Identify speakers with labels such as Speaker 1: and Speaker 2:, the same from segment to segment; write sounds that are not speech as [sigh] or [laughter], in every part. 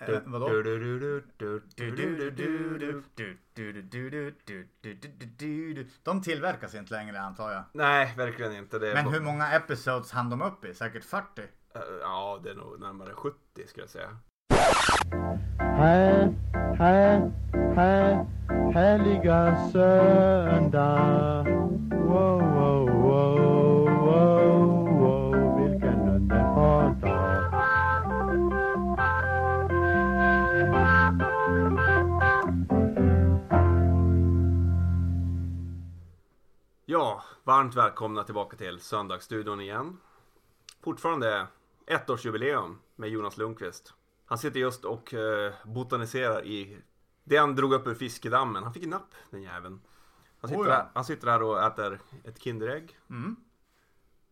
Speaker 1: Eh, vadå? De tillverkas inte längre antar jag.
Speaker 2: Nej, verkligen inte. Det är
Speaker 1: Men
Speaker 2: bara-
Speaker 1: hur många episodes hann de upp i? Säkert 40?
Speaker 2: Eh, Ja, det är nog närmare 70 ska jag säga.
Speaker 3: Här, här, här, härliga söndag. Wow, wow, wow, wow, wow, vilken underbar dag.
Speaker 2: Ja, varmt välkomna tillbaka till Söndagsstudion igen. Fortfarande ettårsjubileum med Jonas Lundqvist. Han sitter just och eh, botaniserar i det han drog upp ur fiskedammen. Han fick napp den jäveln. Han sitter,
Speaker 1: Oj då.
Speaker 2: här, han sitter här och äter ett Kinderägg.
Speaker 1: Mm.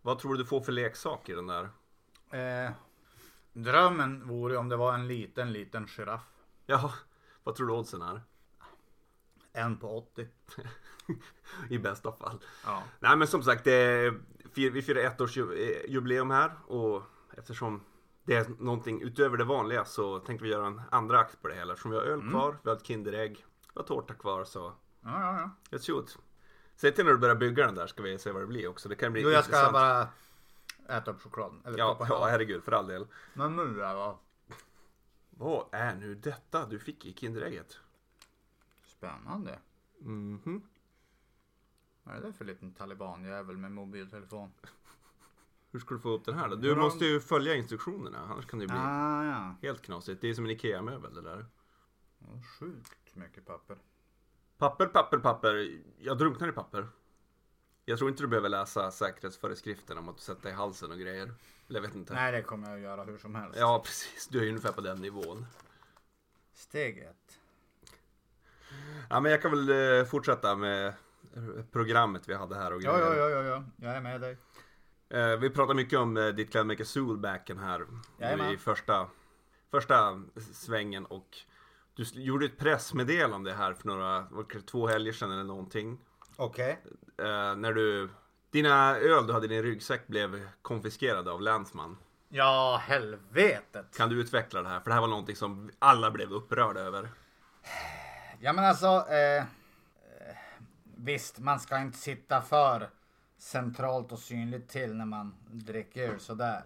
Speaker 2: Vad tror du du får för leksak i den där?
Speaker 1: Eh, drömmen vore ju om det var en liten, liten giraff.
Speaker 2: Ja, vad tror du oddsen är?
Speaker 1: En på 80.
Speaker 2: [laughs] I bästa fall.
Speaker 1: Ja.
Speaker 2: Nej men som sagt, det är, fir- vi firar ettårsjubileum eh, här och eftersom det är någonting utöver det vanliga så tänkte vi göra en andra akt på det hela. Eftersom vi har öl kvar, vi har ett Kinderägg, vi har tårta kvar så
Speaker 1: Ja, ja, ja.
Speaker 2: let's shoot. Säg till när du börjar bygga den där ska vi se vad det blir också. Det kan bli
Speaker 1: Jo, jag ska
Speaker 2: intressant.
Speaker 1: bara äta upp chokladen. Eller
Speaker 2: Ja,
Speaker 1: stoppa
Speaker 2: ja,
Speaker 1: ja.
Speaker 2: herregud för all del.
Speaker 1: Men nu är det
Speaker 2: Vad är nu detta du fick i Kinderägget?
Speaker 1: spännande.
Speaker 2: Mhm.
Speaker 1: Vad är det för liten talibanjävel med mobiltelefon?
Speaker 2: Hur ska du få upp den här då? Du
Speaker 1: Bra.
Speaker 2: måste ju följa instruktionerna annars kan det ju bli
Speaker 1: Ah, ja.
Speaker 2: helt knasigt. Det är som en IKEA-möbel det där.
Speaker 1: Ja, Sjukt mycket papper.
Speaker 2: Papper, papper, papper. Jag drunknar i papper. Jag tror inte du behöver läsa säkerhetsföreskrifterna om att sätta i halsen och grejer. Eller jag vet inte.
Speaker 1: Nej, det kommer jag att göra hur som helst.
Speaker 2: Ja, precis. Du är ju ungefär på den nivån.
Speaker 1: Steg ett.
Speaker 2: Ja, men jag kan väl eh, fortsätta med programmet vi hade här och
Speaker 1: Ja, ja, ja, ja, ja. Jag är med dig.
Speaker 2: Eh, Vi pratade mycket om eh, ditt Cloudmaker Soulbacken här.
Speaker 1: Jajamän.
Speaker 2: nu I första, första svängen och du s- gjorde ett pressmeddelande om det här för några, var det två helger sedan eller någonting.
Speaker 1: Okej.
Speaker 2: eh, när du Dina öl du hade i din ryggsäck blev konfiskerade av länsman.
Speaker 1: Ja, helvetet.
Speaker 2: Kan du utveckla det här? För det här var någonting som alla blev upprörda över.
Speaker 1: Ja, men alltså. Eh, eh, visst, man ska inte sitta för centralt och synligt till när man dricker öl sådär.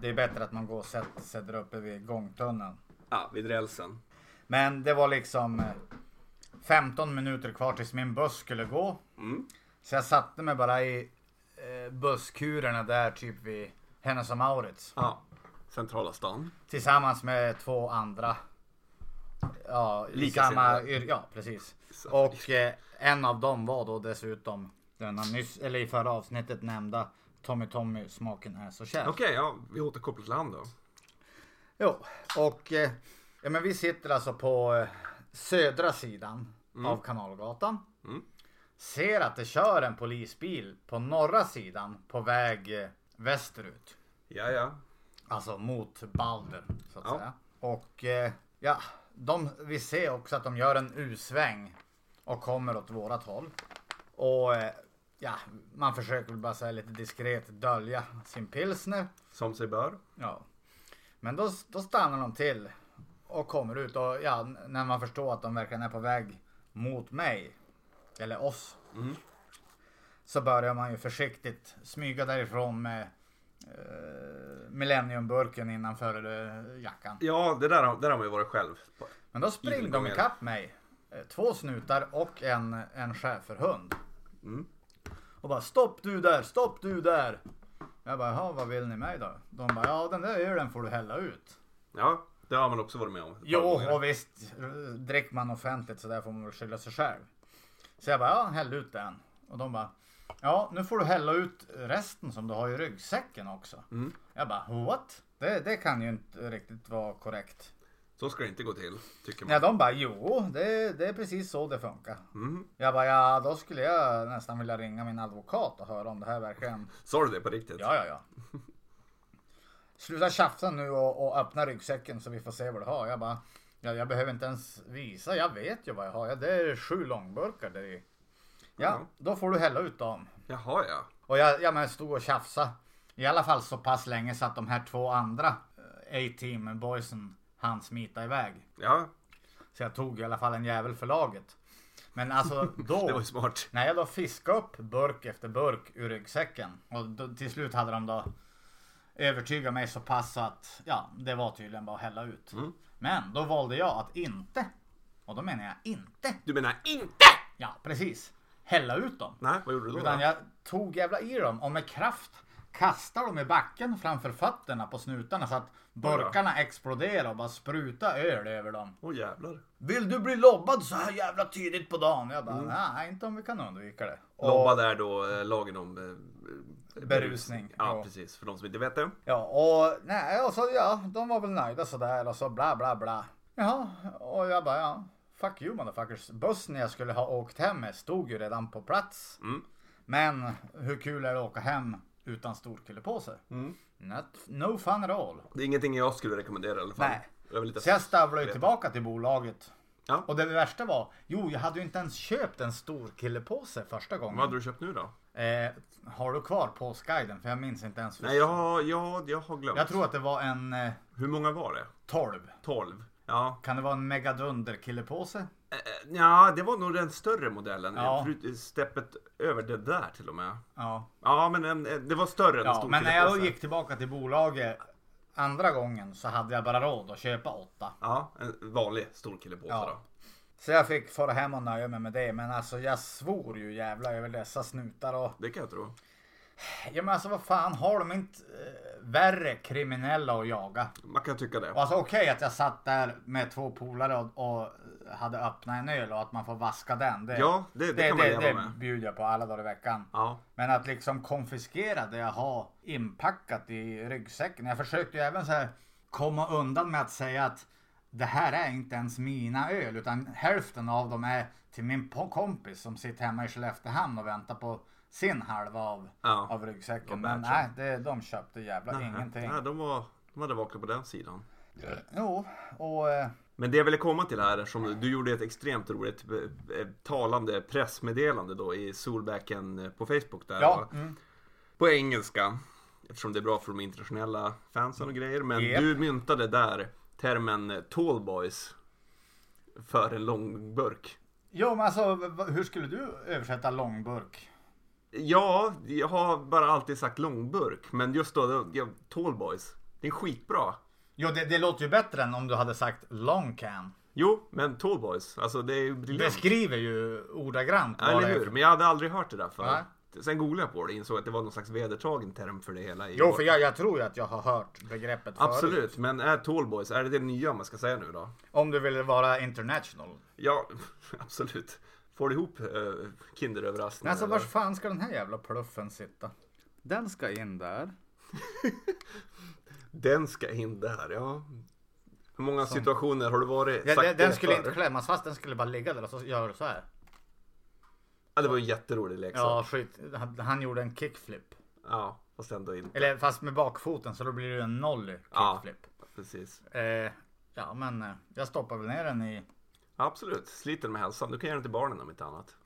Speaker 1: Det är bättre att man går och sätter sig där uppe vid gångtunneln.
Speaker 2: Ja, vid rälsen.
Speaker 1: Men det var liksom eh, 15 minuter kvar tills min buss skulle gå.
Speaker 2: Mm.
Speaker 1: Så jag satte mig bara i eh, busskurerna där typ vid Hennes och Maurits.
Speaker 2: Ja. Centrala stan.
Speaker 1: Tillsammans med två andra. Ja, i samma
Speaker 2: Likasinnade.
Speaker 1: yr- Ja, precis.
Speaker 2: Samma
Speaker 1: Och eh, en av dem var då dessutom denna nyss, eller i förra avsnittet nämnda Tommy Tommy smaken är så kär.
Speaker 2: Okej, ja, vi återkopplar till han då.
Speaker 1: Jo, och eh, ja, men vi sitter alltså på eh, södra sidan av Kanalgatan.
Speaker 2: Mm.
Speaker 1: Ser att det kör en polisbil på norra sidan på väg eh, västerut.
Speaker 2: Ja, ja.
Speaker 1: Alltså mot Balder så att
Speaker 2: Ja.
Speaker 1: säga. Och eh, ja, de, vi ser också att de gör en U-sväng och kommer åt vårat håll. Och eh, ja, man försöker väl bara säga lite diskret dölja sin pilsner.
Speaker 2: Som sig bör.
Speaker 1: Ja. Men då, då stannar de till och kommer ut och ja, n- när man förstår att de verkligen är på väg mot mig, eller oss,
Speaker 2: Mm.
Speaker 1: så börjar man ju försiktigt smyga därifrån med eh, Millenniumburken innanför eh, jackan.
Speaker 2: Ja, det där, har- där har man ju varit själv.
Speaker 1: Men då springer de
Speaker 2: Igelgången.
Speaker 1: ikapp mig. Eh, Två snutar och en, en schäferhund.
Speaker 2: Mm.
Speaker 1: Och bara stopp du där, stopp du där. Jag bara, jaha vad vill ni mig då? De bara, ja den där ölen får du hälla ut.
Speaker 2: Ja, det har man också varit med om. ett par
Speaker 1: Jo,
Speaker 2: gånger.
Speaker 1: och visst. Dricker man offentligt så där får man väl skylla sig själv. Så jag bara, ja, häll ut den. Och de bara, ja, nu får du hälla ut resten som du har i ryggsäcken också.
Speaker 2: Mm.
Speaker 1: Jag bara, what? Det, det kan ju inte riktigt vara korrekt.
Speaker 2: Så ska det inte gå till, tycker man.
Speaker 1: Ja, de bara, jo, det, det är precis så det funkar.
Speaker 2: Mhm.
Speaker 1: Jag bara, ja, då skulle jag nästan vilja ringa min advokat och höra om det här verkligen
Speaker 2: Sa du det på riktigt?
Speaker 1: Ja, ja, ja. Sluta tjafsa nu och, och öppna ryggsäcken så vi får se vad du har. Jag bara, ja, jag behöver inte ens visa. Jag vet ju vad jag har. Ja, det är sju långburkar där i. Ja,
Speaker 2: Ja.
Speaker 1: då får du hälla ut dem.
Speaker 2: Jaha, ja.
Speaker 1: Och jag, jag men stod och tjafsa. I alla fall så pass länge så att de här två andra eh, A-team boysen han smita iväg.
Speaker 2: Ja,
Speaker 1: Så jag tog i alla fall en jävel för laget. Men
Speaker 2: [laughs]
Speaker 1: alltså då.
Speaker 2: det var ju smart.
Speaker 1: När jag då fiskade upp burk efter burk ur ryggsäcken och då, till slut hade de då övertygat mig så pass att ja, det var tydligen bara att hälla ut. Men då valde jag att inte, och då menar jag inte,
Speaker 2: Du menar inte?
Speaker 1: ja precis, hälla ut dem.
Speaker 2: Nej, vad gjorde du då?
Speaker 1: Utan
Speaker 2: då?
Speaker 1: jag tog jävla i dem och med kraft kastade dem i backen framför fötterna på snutarna så att burkarna exploderade och bara spruta öl över dem.
Speaker 2: Åh jävlar.
Speaker 1: Vill du bli lobbad så här jävla tidigt på dagen? Jag bara, nej inte om vi kan undvika det. Och-
Speaker 2: Lobba där då eh, lagen om eh, eh,
Speaker 1: Berusning,
Speaker 2: Ja,
Speaker 1: ja.
Speaker 2: precis. För de som inte vet det.
Speaker 1: Ja, och nej, och så, ja, de var väl nöjda sådär och så bla bla bla. Jaha, och jag bara ja, fuck you motherfuckers. Bussen jag skulle ha åkt hem med stod ju redan på plats.
Speaker 2: Mm.
Speaker 1: Men hur kul är det att åka hem utan storkullepåse?
Speaker 2: Mm.
Speaker 1: Not, no fun at all.
Speaker 2: Det är ingenting jag skulle rekommendera i alla fall.
Speaker 1: Nej.
Speaker 2: Jag vill inte...
Speaker 1: Så jag stövlade ju tillbaka till bolaget.
Speaker 2: Ja.
Speaker 1: Och det värsta var, jo jag hade ju inte ens köpt en storkullepåse första gången.
Speaker 2: Vad hade du köpt nu då?
Speaker 1: Eh, har du kvar påskguiden? För jag minns inte ens.
Speaker 2: Nej, jag, har- jag, har- jag har glömt.
Speaker 1: Jag tror att det var en eh,
Speaker 2: Hur många var det?
Speaker 1: 12.
Speaker 2: 12? Ja.
Speaker 1: Kan det vara en megadunderkillepåse?
Speaker 2: Eh, eh, Ja, det var nog den större modellen.
Speaker 1: Ja.
Speaker 2: Förut- Steppet över det där till och med.
Speaker 1: Ja.
Speaker 2: Ja, men en, en- det var större än en
Speaker 1: ja
Speaker 2: stor
Speaker 1: men när jag
Speaker 2: killepåse.
Speaker 1: gick tillbaka till bolaget andra gången så hade jag bara råd att köpa åtta.
Speaker 2: Ja, en vanlig stor killepåse
Speaker 1: Ja.
Speaker 2: då.
Speaker 1: Så jag fick fara hem och nöja mig med det. Men alltså jag svor ju jävla över dessa snutar och...
Speaker 2: Det kan jag tro.
Speaker 1: Ja men alltså vad fan har de inte eh, värre kriminella att jaga?
Speaker 2: Man kan tycka det.
Speaker 1: Och alltså okej att jag satt där med två polare och, och hade öppnat en öl och att man får vaska den. Det,
Speaker 2: Ja, det, det,
Speaker 1: det,
Speaker 2: kan man
Speaker 1: det,
Speaker 2: leva
Speaker 1: det
Speaker 2: med.
Speaker 1: bjuder jag på alla dagar i veckan.
Speaker 2: Ja.
Speaker 1: Men att liksom konfiskera det jag har inpackat i ryggsäcken. Jag försökte ju även så här komma undan med att säga att det här är inte ens mina öl utan hälften av dem är till min po- kompis som sitter hemma i Skelleftehamn och väntar på sin halva av,
Speaker 2: Ja.
Speaker 1: av
Speaker 2: Vad
Speaker 1: ryggsäcken. Men
Speaker 2: bad
Speaker 1: nej, det, de köpte jävla ingenting.
Speaker 2: Nej, de, var, de hade vaknat på den sidan.
Speaker 1: Jo, och eh,
Speaker 2: Men det jag ville komma till här, som du gjorde ett extremt roligt eh, eh, talande pressmeddelande då i Solbacken eh, på Facebook där.
Speaker 1: ja.
Speaker 2: va?
Speaker 1: Mm.
Speaker 2: På engelska. Eftersom det är bra för de internationella fansen och grejer. Men
Speaker 1: Yep.
Speaker 2: du myntade där termen eh, tallboys. För en lång burk.
Speaker 1: Jo, men alltså v- hur skulle du översätta långburk?
Speaker 2: Ja, jag har bara alltid sagt långburk. Men just då, det- ja, tallboys. Det är skitbra.
Speaker 1: Jo, det, det låter ju bättre än om du hade sagt long can.
Speaker 2: Jo, men tallboys. Alltså det är ju briljant.
Speaker 1: beskriver ju ordagrant
Speaker 2: Ja,
Speaker 1: vad det
Speaker 2: eller
Speaker 1: är
Speaker 2: hur?
Speaker 1: för-
Speaker 2: Men jag hade aldrig hört det där förut.
Speaker 1: Nej.
Speaker 2: Sen googlade jag på det och insåg att det var någon slags vedertagen term för det hela. i
Speaker 1: Jo,
Speaker 2: vår-
Speaker 1: för jag, jag tror ju att jag har hört begreppet förut.
Speaker 2: Absolut, men är tallboys, är det det nya man ska säga nu då?
Speaker 1: Om du vill vara international.
Speaker 2: Ja, [laughs] absolut. Får du ihop eh,
Speaker 1: Men
Speaker 2: kinderöverraskningar?
Speaker 1: alltså
Speaker 2: eller?
Speaker 1: var fan ska den här jävla pluffen sitta? Den ska in där.
Speaker 2: Den ska in där, ja. Hur många situationer har du varit
Speaker 1: Ja,
Speaker 2: sagt
Speaker 1: den, den
Speaker 2: det
Speaker 1: skulle
Speaker 2: för?
Speaker 1: inte klämmas fast, den skulle bara ligga där och så gör du så här.
Speaker 2: Ja, det var en jätterolig leksak. Ja.
Speaker 1: Ja, skit. Han, han gjorde en kickflip.
Speaker 2: ja, fast ändå inte.
Speaker 1: Eller fast med bakfoten så då blir det en noll
Speaker 2: Ja.
Speaker 1: kickflip.
Speaker 2: Precis.
Speaker 1: Eh, ja, men eh, jag stoppar väl ner den i...
Speaker 2: Absolut, sliter med hälsan. Du kan ge den till barnen om inte annat.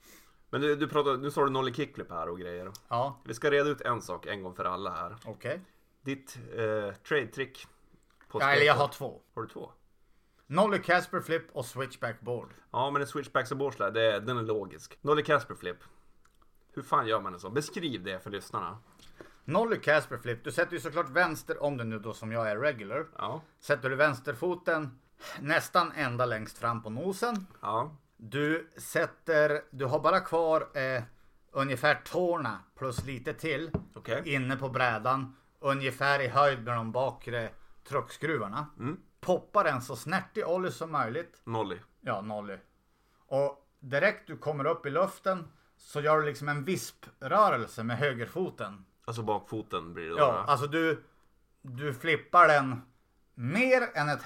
Speaker 2: Men du, du pratar, nu sa du noll i kickflip här och grejer.
Speaker 1: Ja,
Speaker 2: Vi ska reda ut en sak en gång för alla här.
Speaker 1: okej.
Speaker 2: Ditt eh, trade-trick på
Speaker 1: Ja, eller jag har
Speaker 2: skateboard.
Speaker 1: två.
Speaker 2: Har du två?
Speaker 1: Nolly Casper flip och switchback board.
Speaker 2: Ja, men en switchbacks och boards där, det, är- den är logisk. Nolly Casper flip. Hur fan gör man en sån? Beskriv det för lyssnarna.
Speaker 1: Nolly Casper flip, du sätter ju såklart vänster om du nu då som jag är regular.
Speaker 2: Ja,
Speaker 1: Sätter du vänsterfoten nästan ända längst fram på nosen.
Speaker 2: ja,
Speaker 1: Du sätter, du har bara kvar eh, ungefär tårna plus lite till
Speaker 2: okej.
Speaker 1: inne på brädan. Ungefär i höjd med de bakre truckskruvarna.
Speaker 2: Mm.
Speaker 1: Poppar den så snärt i ollie som möjligt.
Speaker 2: Nolly.
Speaker 1: Ja, nolly. Och direkt du kommer upp i luften så gör du liksom en visprörelse med högerfoten.
Speaker 2: Alltså bakfoten blir det då.
Speaker 1: Ja,
Speaker 2: va?
Speaker 1: alltså du, du flippar den mer än ett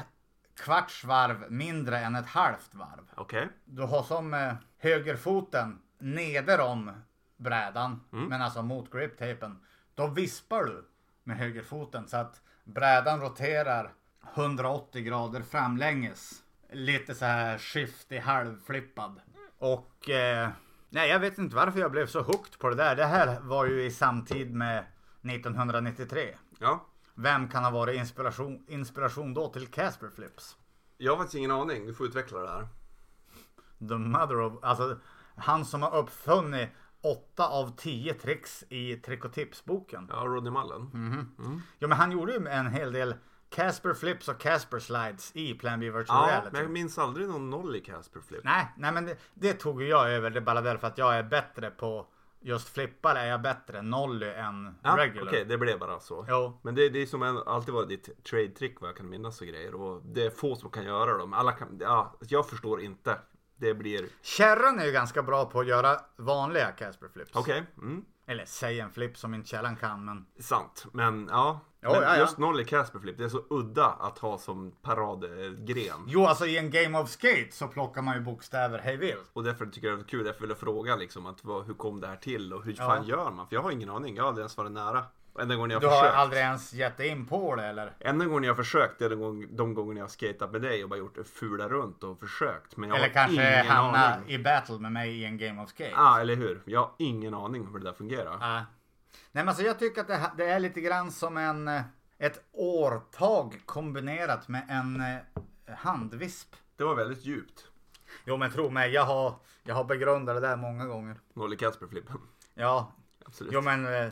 Speaker 1: kvarts varv, mindre än ett halvt varv.
Speaker 2: Okej.
Speaker 1: Du har som eh, högerfoten neder om brädan, men alltså mot griptapen. Då vispar du med högerfoten så att brädan roterar 180 grader framlänges. Lite så här skiftig, halvflippad. Och eh, nej, jag vet inte varför jag blev så hooked på det där. Det här var ju i samtid med 1993.
Speaker 2: Ja.
Speaker 1: Vem kan ha varit inspiration, inspiration då till Casper Flips?
Speaker 2: Jag har faktiskt ingen aning. Du får utveckla det här.
Speaker 1: Mm. The mother of... Alltså, han som har uppfunnit åtta av tio tricks i Trick och tips-boken.
Speaker 2: Ja, Rodney Mullen.
Speaker 1: Jo, men han gjorde ju en hel del Casper Flips och Casper Slides i Plan B Virtual
Speaker 2: Ja,
Speaker 1: Reality.
Speaker 2: men jag minns aldrig någon noll i Casper Flip.
Speaker 1: Nej, nej men det, det tog ju jag över. Det är bara väl för att jag är bättre på just flippar är jag bättre nolly än
Speaker 2: Ja, Okej,
Speaker 1: regular.
Speaker 2: det blev bara så.
Speaker 1: Jo.
Speaker 2: Men det, det är som en, alltid varit ditt trade-trick vad jag kan minnas och grejer. Och det är få som kan göra dem. Alla kan, ja, jag förstår inte. Det blir...
Speaker 1: Kärran är ju ganska bra på att göra vanliga Casper Flips.
Speaker 2: Okej, mm,
Speaker 1: Eller säg en flip som inte källan kan men.
Speaker 2: sant. Men ja.
Speaker 1: Ja,
Speaker 2: men
Speaker 1: ja, ja.
Speaker 2: just noll i Casper Flip, det är så udda att ha som paradgren.
Speaker 1: Jo alltså i en Game of Skate så plockar man ju bokstäver hej vilt.
Speaker 2: Och därför tycker jag det är kul, därför vill jag fråga liksom att vad, hur kom det här till och hur fan gör man? För jag har ingen aning, jag har aldrig ens varit nära. Och Enda gången jag
Speaker 1: Du har
Speaker 2: försökt.
Speaker 1: aldrig ens gett dig in på det eller?
Speaker 2: Enda gången jag har försökt det är de, gång, de gången jag har skatat med dig och bara gjort fula runt och försökt. Men jag
Speaker 1: Eller
Speaker 2: har
Speaker 1: kanske
Speaker 2: ingen
Speaker 1: hamna
Speaker 2: aning.
Speaker 1: i battle med mig i en Game of Skate.
Speaker 2: Ja, ah, eller hur? Jag har ingen aning om hur det där fungerar.
Speaker 1: Nej. Nej men alltså jag tycker att det, här- det är lite grann som en, eh, ett årtag kombinerat med en eh, handvisp.
Speaker 2: Det var väldigt djupt.
Speaker 1: Jo men tro mig, jag har, jag har begrundat det där många gånger.
Speaker 2: Nolly Kasper-flippen.
Speaker 1: Ja,
Speaker 2: Absolut.
Speaker 1: jo men eh, eh,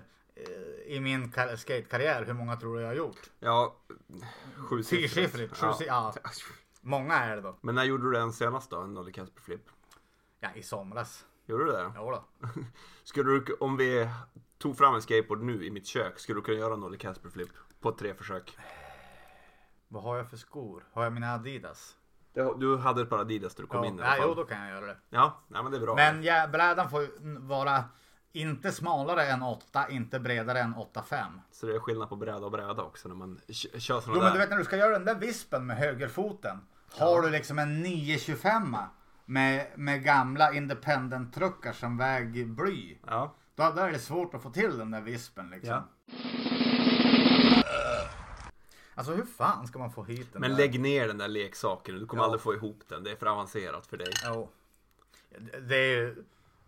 Speaker 1: i min kar- skatekarriär, hur många tror du jag har gjort?
Speaker 2: Ja, sju
Speaker 1: Fyrsiffrigt, sju si- ja. Många är det då.
Speaker 2: [laughs] Men när gjorde du den senast då? En Nolly Kasper-flipp?
Speaker 1: Ja, i somras.
Speaker 2: Gjorde du det?
Speaker 1: Jo då.
Speaker 2: Skulle du, om vi tog fram en skateboard nu i mitt kök, skulle du kunna göra en Nolly Kasper-flipp på tre försök?
Speaker 1: Vad har jag för skor? Har jag mina Adidas?
Speaker 2: Det- Du hade ett par Adidas när du kom
Speaker 1: Ja,
Speaker 2: in i alla
Speaker 1: ja,
Speaker 2: fall.
Speaker 1: jo då kan jag göra det.
Speaker 2: Ja, nej, men det är bra.
Speaker 1: Men ja, brädan får ju vara inte smalare än 8, inte bredare än 8,5.
Speaker 2: Så det är skillnad på bräda och bräda också när man k- kör
Speaker 1: Jo
Speaker 2: sådana
Speaker 1: men du
Speaker 2: där.
Speaker 1: vet när du ska göra den där vispen med högerfoten. Har du liksom en 925 med, med gamla independent-truckar som väger bly.
Speaker 2: Ja.
Speaker 1: Då, då är det svårt att få till den där vispen liksom.
Speaker 2: Ja.
Speaker 1: Alltså hur fan ska man få hit den
Speaker 2: Men
Speaker 1: där?
Speaker 2: lägg ner den där leksaken, du kommer
Speaker 1: Ja.
Speaker 2: aldrig få ihop den. Det är för avancerat för dig.
Speaker 1: Jo. Det- Det är ju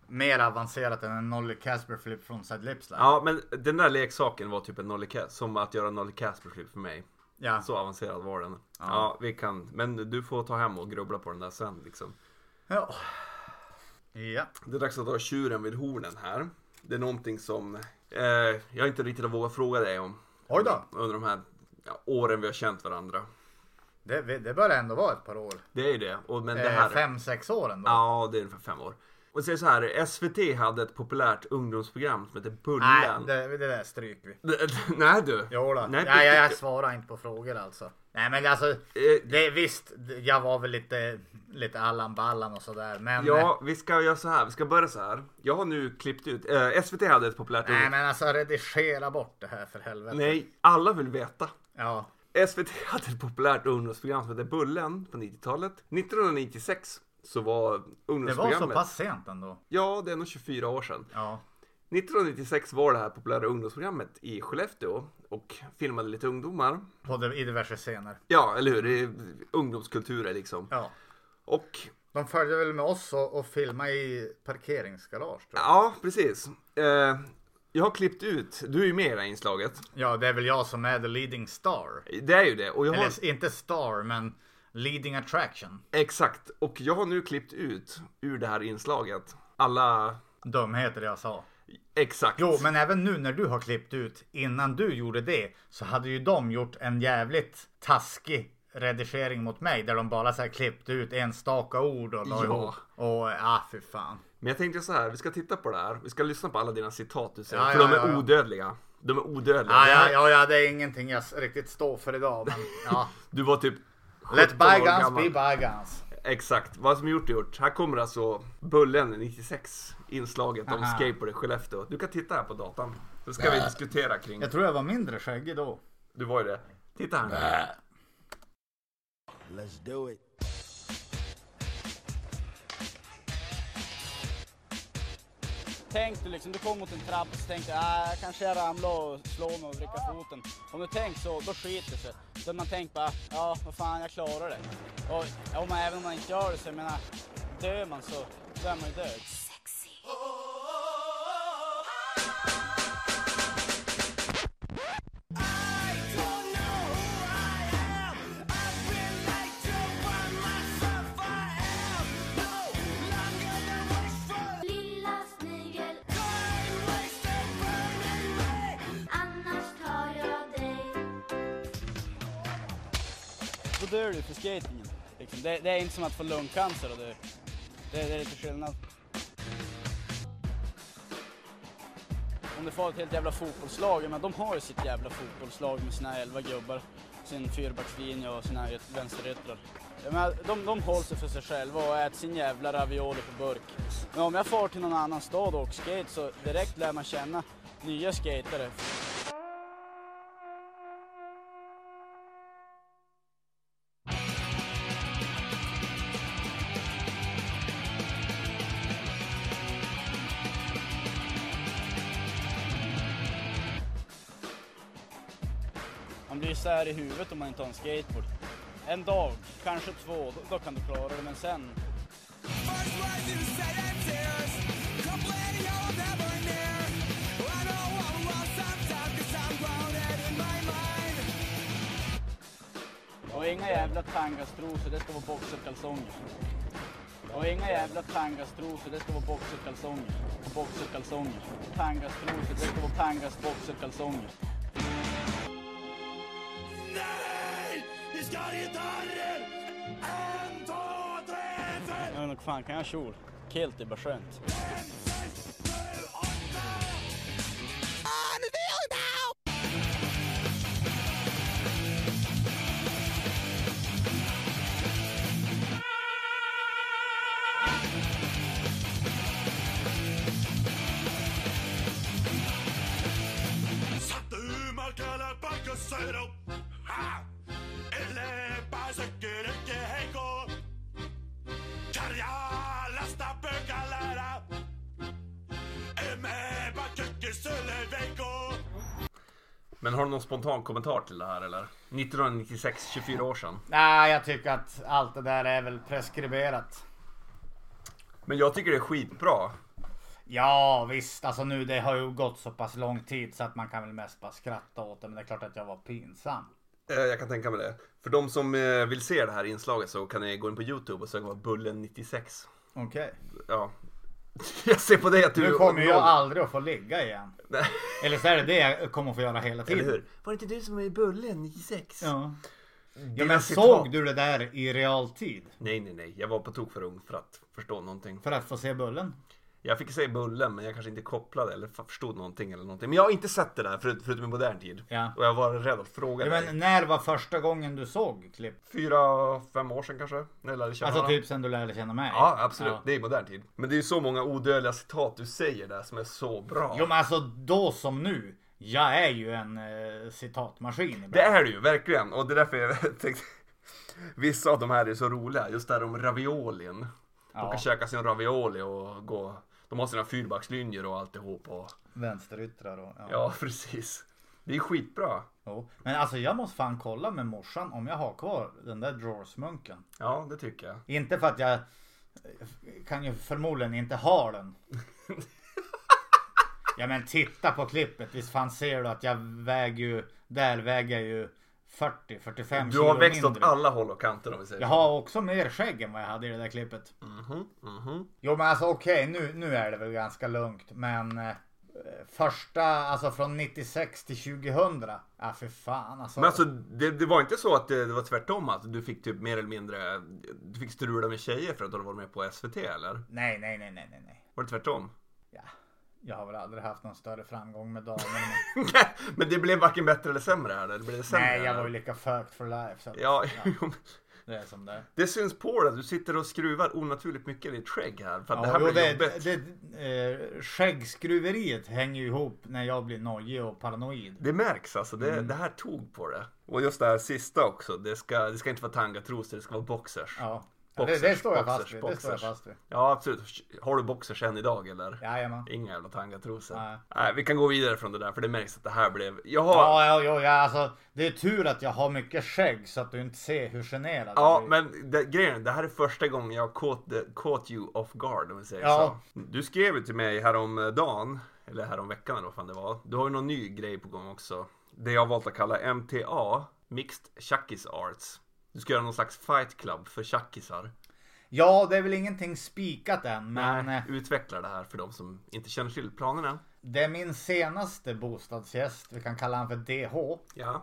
Speaker 1: mer avancerat än en Nolly Casper flip från Side Lips. Ja.
Speaker 2: Ja, men den där leksaken var typ en Nolly Cas- som att göra en Nolly Casper-flipp för mig.
Speaker 1: Ja.
Speaker 2: Så avancerad var den. Ja. vi kan. Men du får ta hem och grubbla på den där sen liksom.
Speaker 1: Ja. ja.
Speaker 2: Det är dags att dra tjuren vid hornen här. Det är någonting som eh, jag inte riktigt har vågat fråga dig om.
Speaker 1: Oj då.
Speaker 2: Under de här ja, åren vi har känt varandra.
Speaker 1: Det, det börjar ändå vara ett par år.
Speaker 2: Det är ju det. Och, men det
Speaker 1: Eh,
Speaker 2: här...
Speaker 1: Fem, sex år ändå.
Speaker 2: Ja, det är ungefär fem år. Och säger så här, SVT hade ett populärt ungdomsprogram som hette
Speaker 1: Nej,
Speaker 2: Bullen.
Speaker 1: det, det där stryker vi.
Speaker 2: [laughs] Nej du.
Speaker 1: Jo då.
Speaker 2: Nej,
Speaker 1: Nej, jag, jag svarar inte på frågor alltså. Nej men alltså,
Speaker 2: Eh,
Speaker 1: det, visst, jag var väl lite, lite Allan Ballan och sådär. Men,
Speaker 2: Ja, vi ska göra så här. Vi ska börja så här. Jag har nu klippt ut. Eh, SVT hade ett populärt
Speaker 1: nej
Speaker 2: ungdomsprogram.
Speaker 1: men alltså redigera bort det här för helvete.
Speaker 2: Nej, alla vill veta.
Speaker 1: Ja.
Speaker 2: SVT [laughs] hade ett populärt ungdomsprogram som hette Bullen på 90-talet. 1996 så var
Speaker 1: Det var
Speaker 2: ungdomsprogrammet.
Speaker 1: så pass sent ändå.
Speaker 2: Ja, det är nog 24 år sedan.
Speaker 1: Ja.
Speaker 2: 1996 var det här populära ungdomsprogrammet i Skellefteå och filmade lite ungdomar.
Speaker 1: På de, I diverse scener.
Speaker 2: Ja, eller hur? Det är ungdomskulturer liksom.
Speaker 1: Ja.
Speaker 2: Och
Speaker 1: De följde väl med oss och, och filmade i parkeringsgarage. Tror jag.
Speaker 2: ja, precis. Eh, jag har klippt ut, du är ju med i det här inslaget.
Speaker 1: Ja, det är väl jag som är the leading star.
Speaker 2: Det är ju det. Och jag har,
Speaker 1: Eller inte star, men leading attraction.
Speaker 2: exakt. Och jag har nu klippt ut ur det här inslaget alla...
Speaker 1: Dumheter jag sa.
Speaker 2: Exakt.
Speaker 1: Jo, men även nu när du har klippt ut, innan du gjorde det, så hade ju de gjort en jävligt taskig redigering mot mig där de bara så här klippte ut enstaka ord och la
Speaker 2: Ja.
Speaker 1: ihop. Och ja, fy fan.
Speaker 2: Men jag tänkte så här, vi ska titta på det här. Vi ska lyssna på alla dina citat du säger.
Speaker 1: Ja,
Speaker 2: för
Speaker 1: ja,
Speaker 2: de är
Speaker 1: ja, ja.
Speaker 2: odödliga. De är odödliga.
Speaker 1: Ja,
Speaker 2: Det
Speaker 1: ja,
Speaker 2: här-
Speaker 1: ja, ja, det är ingenting jag s- riktigt står för idag, men ja.
Speaker 2: [laughs] Du var typ 17
Speaker 1: Let
Speaker 2: år
Speaker 1: bygones
Speaker 2: gammal.
Speaker 1: be bygones.
Speaker 2: Exakt. Vad som är gjort är gjort. Här kommer alltså Bullen 96 inslaget om
Speaker 1: Aha.
Speaker 2: skateboard i Skellefteå. Du kan titta här på datan. Då ska vi diskutera kring.
Speaker 1: Jag tror jag var mindre skäggig då.
Speaker 2: Du var ju det. Titta här nu.
Speaker 4: Let's do it.
Speaker 5: Tänk du liksom, du kom mot en trappa så tänkte jag, ah, kanske jag ramlar och slår mig och vrickar foten. Om du tänkt så, då skiter det sig. Så man tänker bara, ja vad fan jag klarar det. Och om man, även om man inte gör det så, jag menar, dör man så, så är man ju död.
Speaker 6: I don't know who I am. I've been like to
Speaker 5: då dör du för skatingen. Liksom. Det, det är inte som att få lungcancer och dö. Det, det är lite skillnad. Om du får ett helt jävla fotbollslag, men de har ju sitt jävla fotbollslag med sina elva gubbar, sin fyrbackslinje och sina yt- vänsteryttrar. Jag menar, de, de håller sig för sig själva och äter sin jävla ravioli på burk. Men om jag far till någon annan stad och åker skate så direkt lär man känna nya skatare. Man blir så här i huvudet om man inte har en skateboard. En dag, kanske två, då, då kan du klara det. Men sen,
Speaker 4: First words you said in tears, complaining I was never near. I know I'm lost sometimes 'cause I'm grounded in my mind.
Speaker 5: och inga jävla tangastrosor, det ska vara boxerkalsonger. Och inga jävla tangastrosor, det ska vara boxerkalsonger. Boxerkalsonger. Tangastrosor, det ska vara tangas boxerkalsonger.
Speaker 4: Nej, vi ska inte ha det! En, två, tre, fyra,
Speaker 5: Jag vet inte, fan kan jag ha kjol? Kilt är bara skönt.
Speaker 4: fem, sex, sju, åtta! On the field now! Satt du makala pakkasõidu Elle pääsebki rikki heiku Kärja lasta pöökale ära Emme pakki selle veiku
Speaker 2: Men har du någon spontan kommentar till det här eller? 1996, 24 år sedan.
Speaker 1: Nej, jag tycker att allt det där är väl preskriberat.
Speaker 2: Men jag tycker det är skitbra.
Speaker 1: Ja visst, alltså nu det har ju gått så pass lång tid så att man kan väl mest bara skratta åt det. Men det är klart att jag var pinsam.
Speaker 2: Eh, Jag kan tänka mig det. För de som eh, vill se det här inslaget så kan ni gå in på Youtube och söka på Bullen96.
Speaker 1: Okej.
Speaker 2: Ja. [laughs] Jag ser på dig att du...
Speaker 1: Nu kommer jag aldrig att få ligga igen. Eller så är det det jag kommer att få göra hela
Speaker 2: Eller
Speaker 1: tiden.
Speaker 2: hur? Var det inte du som var i Bullen 96?
Speaker 1: Ja.
Speaker 2: Dina
Speaker 1: ja men
Speaker 2: citat.
Speaker 1: såg du det där i realtid?
Speaker 2: Nej, nej, nej. Jag var på tok för ung för att förstå någonting.
Speaker 1: För att få se Bullen?
Speaker 2: Jag fick säga Bullen, men jag kanske inte kopplade eller fa- förstod någonting eller någonting. Men jag har inte sett det där förut, förutom i modern tid.
Speaker 1: Ja.
Speaker 2: Och jag var rädd att fråga
Speaker 1: Ja,
Speaker 2: dig.
Speaker 1: men när var första gången du såg klipp?
Speaker 2: Fyra, fem år sedan kanske? När jag lärde känna
Speaker 1: Alltså
Speaker 2: honom.
Speaker 1: typ sen du lärde känna mig?
Speaker 2: Ja, absolut.
Speaker 1: Ja.
Speaker 2: Det är i modern tid. Men det är ju så många odödliga citat du säger där som är så bra.
Speaker 1: Jo men alltså då som nu. Jag är ju en eh, citatmaskin ibland.
Speaker 2: Det är det ju, verkligen. Och det är därför jag [laughs] tänkte... Vissa av de här är så roliga. Just det här om raviolin. De
Speaker 1: Ja.
Speaker 2: kan käka sin ravioli och gå... De har sina fyrbackslinjer och alltihop och...
Speaker 1: Vänsteryttrar och ja.
Speaker 2: Ja, [laughs] precis. Det är skitbra.
Speaker 1: Jo. Men alltså jag måste fan kolla med morsan om jag har kvar den där drawsmunken.
Speaker 2: Ja, det tycker jag.
Speaker 1: Inte för att jag eh, kan ju förmodligen inte ha den. Ja men titta på klippet. Visst fan ser du att jag väger ju. Där väger jag ju 40-45
Speaker 2: Du
Speaker 1: kilo
Speaker 2: har växt åt
Speaker 1: mindre.
Speaker 2: alla håll och kanter om vi säger
Speaker 1: Jag
Speaker 2: så. Mhm,
Speaker 1: har också mer skägg än vad jag hade i det där klippet. Jo men alltså okej, nu, nu är det väl ganska lugnt. Men eh, första, alltså från 96 till 2000. Ja ah, för fan alltså.
Speaker 2: Men alltså, det, det var inte så att det, det var tvärtom att du fick typ mer eller mindre, du fick strula med tjejer för att du hade varit med på SVT eller?
Speaker 1: Nej, nej, nej, nej, nej, nej.
Speaker 2: Var det tvärtom? [laughs]
Speaker 1: Ja. Jag har väl aldrig haft någon större framgång med [laughs] damer. men-
Speaker 2: men det blev varken bättre eller sämre här, eller blev det sämre?
Speaker 1: nej, jag
Speaker 2: här?
Speaker 1: var ju lika fucked for life. Så att
Speaker 2: Ja, [laughs] jo,
Speaker 1: det är som det är.
Speaker 2: det syns på dig. Du sitter och skruvar onaturligt mycket i ditt skägg här. För att
Speaker 1: Ja,
Speaker 2: det här
Speaker 1: jo,
Speaker 2: blir
Speaker 1: det,
Speaker 2: jobbigt.
Speaker 1: det, eh, skäggskruveriet hänger ju ihop när jag blir nojig och paranoid.
Speaker 2: Det märks alltså, det,
Speaker 1: Mm.
Speaker 2: det här tog på det. Och just det här sista också, det ska, det ska inte vara tangatrosor, det ska vara boxers.
Speaker 1: Ja, ja
Speaker 2: Boxers,
Speaker 1: det, det står jag
Speaker 2: boxers,
Speaker 1: fast vid. Det
Speaker 2: boxers.
Speaker 1: står jag fast vid.
Speaker 2: Ja, absolut. Har du boxers än idag eller?
Speaker 1: Jajamän.
Speaker 2: Inga jävla tangatrosor.
Speaker 1: Nej.
Speaker 2: Nej, vi kan gå vidare från det där för det märks att det här blev... Jag har... Ja,
Speaker 1: Ja, ja, ja, ja alltså, det är tur att jag har mycket skägg så att du inte ser hur generad jag blir.
Speaker 2: men det, grejen det här är första gången jag caught, the, caught you off guard om vi säger
Speaker 1: Ja.
Speaker 2: så. Du skrev ju till mig häromdagen, eller häromveckan eller vad fan det var. Du har ju någon ny grej på gång också. Det jag har valt att kalla MTA, Mixed Chuckis Arts. Du ska göra någon slags fight club för tjackisar.
Speaker 1: Ja, det är väl ingenting spikat än, men eh,
Speaker 2: Utveckla det här för de som inte känner till planerna.
Speaker 1: det är min senaste bostadsgäst. Vi kan kalla han för DH.
Speaker 2: Ja.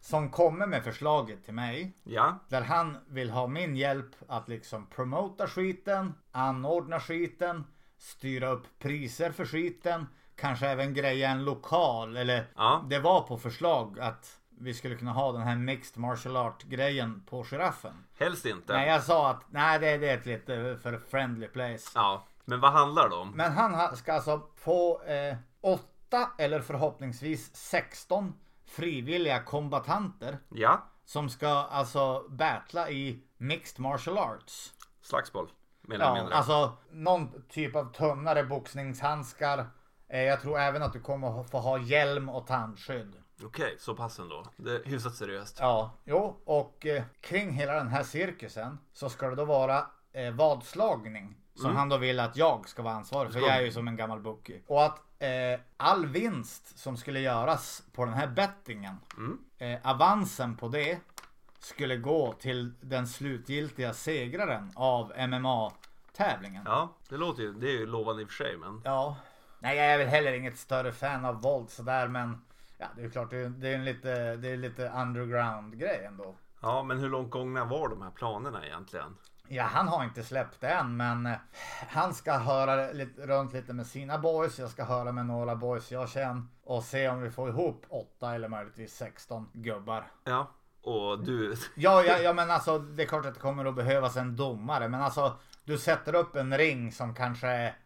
Speaker 1: som kommer med förslaget till mig.
Speaker 2: Ja,
Speaker 1: Där han vill ha min hjälp att liksom promota skiten, anordna skiten, styra upp priser för skiten, kanske även greja en lokal. Eller
Speaker 2: Ja.
Speaker 1: det var på förslag att vi skulle kunna ha den här mixed martial art grejen på giraffen.
Speaker 2: helst inte.
Speaker 1: Nej jag sa att nej det, det är ett lite för friendly place.
Speaker 2: Ja, men vad handlar det om?
Speaker 1: Men han ha- ska alltså få eh, åtta eller förhoppningsvis 16 frivilliga kombatanter
Speaker 2: Ja,
Speaker 1: som ska alltså battla i mixed martial arts.
Speaker 2: slagsmål. Menar,
Speaker 1: Ja,
Speaker 2: menar du?
Speaker 1: alltså någon typ av tunnare boxningshandskar. Eh, jag tror även att du kommer få ha hjälm och tandskydd.
Speaker 2: Okej, så pass ändå. Det är hyfsat seriöst.
Speaker 1: Ja, jo, och eh, kring hela den här cirkusen så ska det då vara eh, vadslagning. Som han då vill att jag ska vara ansvarig för.
Speaker 2: Ska.
Speaker 1: Jag är ju som en gammal bookie. Och att eh, all vinst som skulle göras på den här bettingen. Eh, avansen på det skulle gå till den slutgiltiga segraren av MMA-tävlingen.
Speaker 2: Ja, det låter ju, det är ju lovande i och för sig, men
Speaker 1: Ja. Nej, jag är väl heller inget större fan av våld sådär men ja, det är ju klart det är, det är en lite, det är lite underground grej ändå.
Speaker 2: ja, men hur långt gångna var de här planerna egentligen?
Speaker 1: Ja, han har inte släppt än, men eh, han ska höra lite, runt lite med sina boys. Jag ska höra med några boys jag känner och se om vi får ihop 8 eller möjligtvis 16 gubbar.
Speaker 2: Ja, och du, [laughs]
Speaker 1: Ja, ja, ja, men alltså det är klart att det kommer att behövas en domare, men alltså du sätter upp en ring som kanske är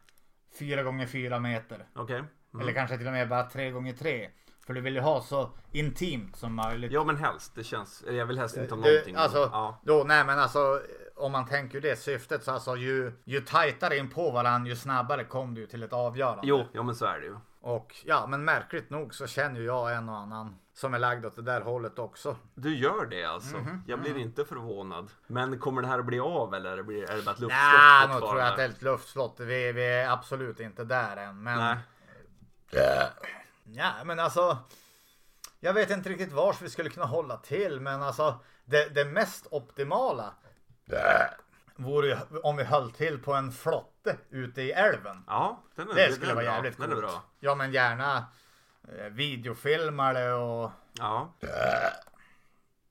Speaker 1: 4 gånger 4 meter
Speaker 2: okej. Mm.
Speaker 1: eller kanske till och med bara 3 gånger 3 för du vill ju ha så intimt som möjligt.
Speaker 2: Ja, men helst. Det känns, eller jag vill helst inte ha
Speaker 1: Det-
Speaker 2: någonting.
Speaker 1: Alltså,
Speaker 2: Ja,
Speaker 1: då, nej men alltså om man tänker det syftet så alltså ju, ju tajtare in på varandra ju snabbare kom du ju till ett avgörande.
Speaker 2: jo, ja, men så är det ju.
Speaker 1: Och ja, men märkligt nog så känner ju jag en och annan som är lagd åt det där hållet också.
Speaker 2: Du gör det alltså?
Speaker 1: Mhm.
Speaker 2: Jag
Speaker 1: Mm.
Speaker 2: blir inte förvånad. Men kommer det här att bli av eller blir, är det bara ett luftslott
Speaker 1: Nej, nu tror
Speaker 2: fortfarande?
Speaker 1: jag att det är ett luftslott. Vi, vi är absolut inte där än. Men
Speaker 2: Nej,
Speaker 1: Ja, men alltså. Jag vet inte riktigt vars vi skulle kunna hålla till, men alltså det, det mest optimala vore ju om vi höll till på en flotte ute i älven.
Speaker 2: ja, den är,
Speaker 1: Det
Speaker 2: den
Speaker 1: skulle
Speaker 2: är
Speaker 1: vara
Speaker 2: bra.
Speaker 1: jävligt
Speaker 2: Den
Speaker 1: coolt.
Speaker 2: är bra.
Speaker 1: Ja men gärna eh, videofilmare och...
Speaker 2: Ja.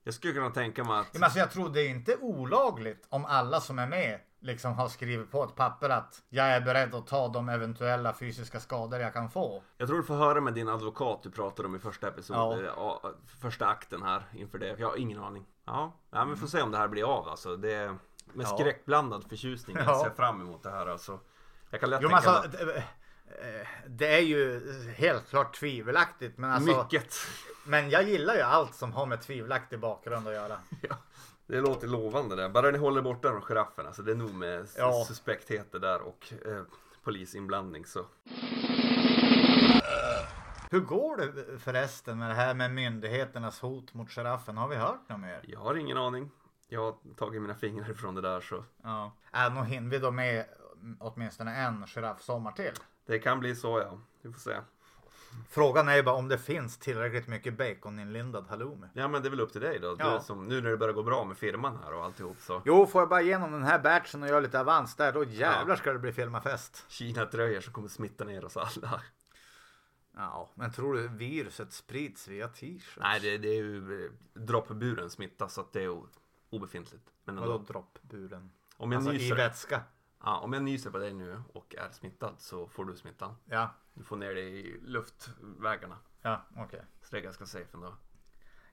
Speaker 2: Jag skulle kunna tänka mig att
Speaker 1: Men alltså jag tror det är inte olagligt om alla som är med liksom har skrivit på ett papper att jag är beredd att ta de eventuella fysiska skador jag kan få.
Speaker 2: Jag tror du får höra med din advokat du pratade om i första episoden, ja. första akten här inför det. Jag har ingen aning. Ja, ja men vi får se om det här blir av alltså. Det är med
Speaker 1: Ja.
Speaker 2: skräckblandad förtjusning jag
Speaker 1: Ja.
Speaker 2: ser fram emot det här alltså. Jag kan lätt
Speaker 1: Jo men
Speaker 2: tänka
Speaker 1: alltså
Speaker 2: mig
Speaker 1: d- eh, det är ju helt klart tvivelaktigt men alltså
Speaker 2: mycket. [laughs]
Speaker 1: Men jag gillar ju allt som har med tvivelaktig bakgrund att göra.
Speaker 2: Ja, det låter lovande det. Bara ni håller borta de girafferna så det är nog med s-
Speaker 1: Ja.
Speaker 2: suspektheter där och eh, polisinblandning så.
Speaker 1: Hur går det förresten med det här med myndigheternas hot mot giraffen? Har vi hört något mer?
Speaker 2: Jag har ingen aning. Jag har tagit mina fingrar ifrån det där så
Speaker 1: Ja. Äh, nog hinner vi då med åtminstone en giraffsommar till.
Speaker 2: det kan bli så ja. Vi får se.
Speaker 1: Frågan är ju bara om det finns tillräckligt mycket baconinlindad halloumi.
Speaker 2: Ja men det är väl upp till dig då.
Speaker 1: Ja.
Speaker 2: Du som, nu när det börjar gå bra med firman här och alltihop så.
Speaker 1: Jo, får jag bara igenom den här batchen och göra lite avans där, då jävlar ska det bli filmafest.
Speaker 2: Kina-tröjor som kommer smitta ner oss alla.
Speaker 1: Ja, men tror du viruset sprids via t-shirts?
Speaker 2: Nej det, det är ju eh, droppburen smitta så att det är o- obefintligt. Men
Speaker 1: Vadå
Speaker 2: ändå,
Speaker 1: droppburen?
Speaker 2: om jag,
Speaker 1: Alltså i
Speaker 2: nyser,
Speaker 1: vätska?
Speaker 2: ja, om jag nyser på dig nu och är smittad så får du smittan.
Speaker 1: Ja,
Speaker 2: Du får ner det i luftvägarna.
Speaker 1: ja, okej.
Speaker 2: Så det är ganska safe ändå.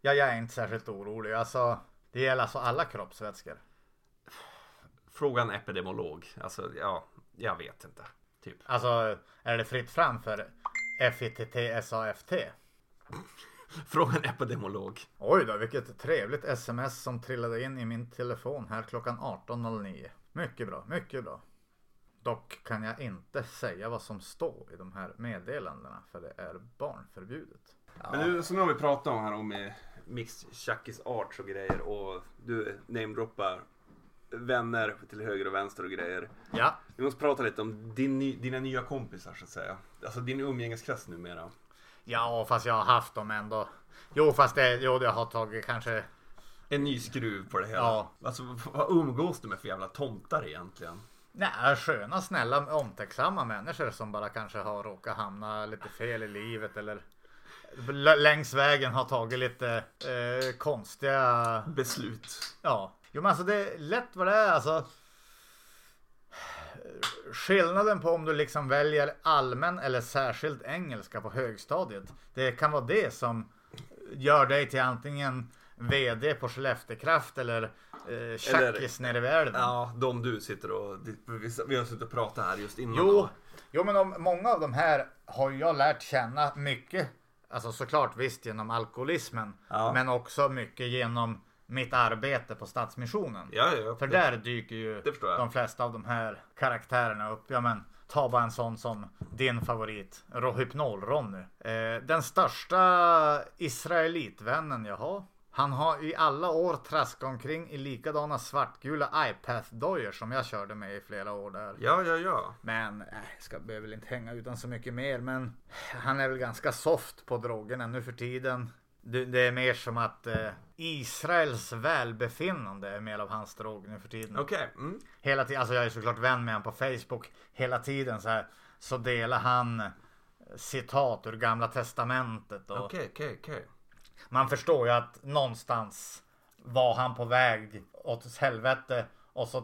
Speaker 1: Ja, jag är inte särskilt orolig. Alltså, det gäller alltså alla kroppsvätskor.
Speaker 2: Frågan epidemiolog. Alltså ja, jag vet inte. Typ.
Speaker 1: Alltså, är det fritt fram för FITT-SAFT?
Speaker 2: Frågan epidemiolog.
Speaker 1: Oj då, vilket trevligt sms som trillade in i min telefon här klockan 18.09. Mycket bra, mycket bra. Dock kan jag inte säga vad som står i de här meddelandena för det är barnförbjudet.
Speaker 2: Men nu, så nu har vi pratat om här om eh, mixed tjackis arts och grejer och du namedroppar vänner till höger och vänster och grejer.
Speaker 1: Ja,
Speaker 2: Vi måste prata lite om din, ny- dina nya kompisar så att säga. Alltså din umgängeskrets numera.
Speaker 1: ja fast jag har haft dem ändå. Jo, fast det, jo, jag har tagit kanske...
Speaker 2: En ny skruv på det hela.
Speaker 1: Ja.
Speaker 2: Alltså v- vad umgås du med för jävla tomtar egentligen?
Speaker 1: Nej, sköna, snälla, omtänksamma människor som bara kanske har råkat hamna lite fel i livet eller l- längs vägen har tagit lite eh, konstiga
Speaker 2: Beslut.
Speaker 1: Ja, jo, men alltså det är lätt vad det är alltså. Skillnaden på om du liksom väljer allmän eller särskild engelska på högstadiet. Det kan vara det som gör dig till antingen VD på Skellefteå Kraft eller eh, tjackis nere vid älven.
Speaker 2: Ja, de du sitter och... vi- Vi har suttit och pratat här just innan.
Speaker 1: Jo, jo men om, många av de här har ju jag lärt känna mycket. Alltså såklart visst genom alkoholismen.
Speaker 2: Ja.
Speaker 1: Men också mycket genom mitt arbete på Stadsmissionen.
Speaker 2: Ja, ja, ja.
Speaker 1: För där dyker ju
Speaker 2: det förstår jag.
Speaker 1: de flesta av de här karaktärerna upp. Ja men ta bara en sån som din favorit Rohypnol-Ronny. Eh, den största Israelitvännen jag har. Han har i alla år traskat omkring i likadana svartgula iPath-dojor som jag körde med i flera år där.
Speaker 2: Ja, ja, ja.
Speaker 1: Men, äh, ska behöver väl inte hänga utan så mycket mer. Men han är väl ganska soft på drogerna nu för tiden. Det, det är mer som att eh, Israels välbefinnande är mer av hans drog nu för tiden.
Speaker 2: Okej. Mm.
Speaker 1: Hela tiden, alltså jag är såklart vän med honom på Facebook. Hela tiden så här, så delar han citat ur gamla testamentet. Och
Speaker 2: Okej, okej, okej.
Speaker 1: Man förstår ju att någonstans var han på väg åt helvete och så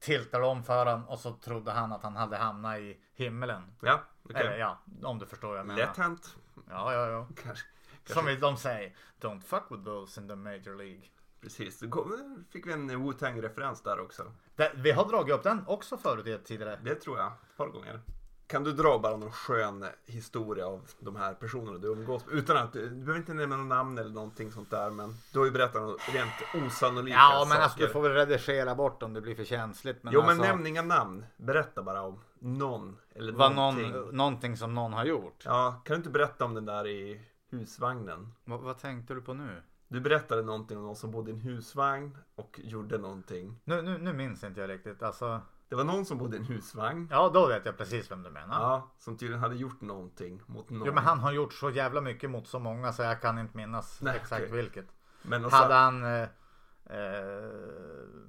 Speaker 1: tiltade de för honom och så trodde han att han hade hamnat i himmelen.
Speaker 2: Ja, okej.
Speaker 1: Eller ja, om du förstår vad jag menar.
Speaker 2: Lätt hänt.
Speaker 1: Ja, ja, ja.
Speaker 2: Kanske. kanske.
Speaker 1: Som de säger, don't fuck with those in the major league.
Speaker 2: Precis. Då kom- fick vi en Wu-Tang-referens där också.
Speaker 1: Det, vi har dragit upp den också förut i ett tidigare.
Speaker 2: Det tror jag. Ett par gånger. Kan du dra bara någon skön historia av de här personerna du umgås med? Utan att, du behöver inte nämna några namn eller någonting sånt där, men du har ju berättat något rent osannolika
Speaker 1: Ja, men alltså
Speaker 2: saker.
Speaker 1: du får väl redigera bort om det blir för känsligt. Men
Speaker 2: Jo, men
Speaker 1: alltså,
Speaker 2: nämn inga namn. Berätta bara om någon eller
Speaker 1: vad
Speaker 2: någonting.
Speaker 1: någon, någonting som någon har gjort.
Speaker 2: Ja, kan du inte berätta om den där i husvagnen?
Speaker 1: Vad- vad tänkte du på nu?
Speaker 2: Du berättade någonting om någon som bodde i en husvagn och gjorde någonting.
Speaker 1: Nu, nu, nu minns inte jag riktigt. Alltså,
Speaker 2: Det var någon som bodde i en husvagn.
Speaker 1: ja, då vet jag precis vem du menar.
Speaker 2: Ja, som tydligen hade gjort någonting mot någon.
Speaker 1: Jo, men han har gjort så jävla mycket mot så många så jag kan inte minnas
Speaker 2: Nej,
Speaker 1: exakt
Speaker 2: okej.
Speaker 1: vilket.
Speaker 2: Men alltså, och så,
Speaker 1: Hade han eh, eh,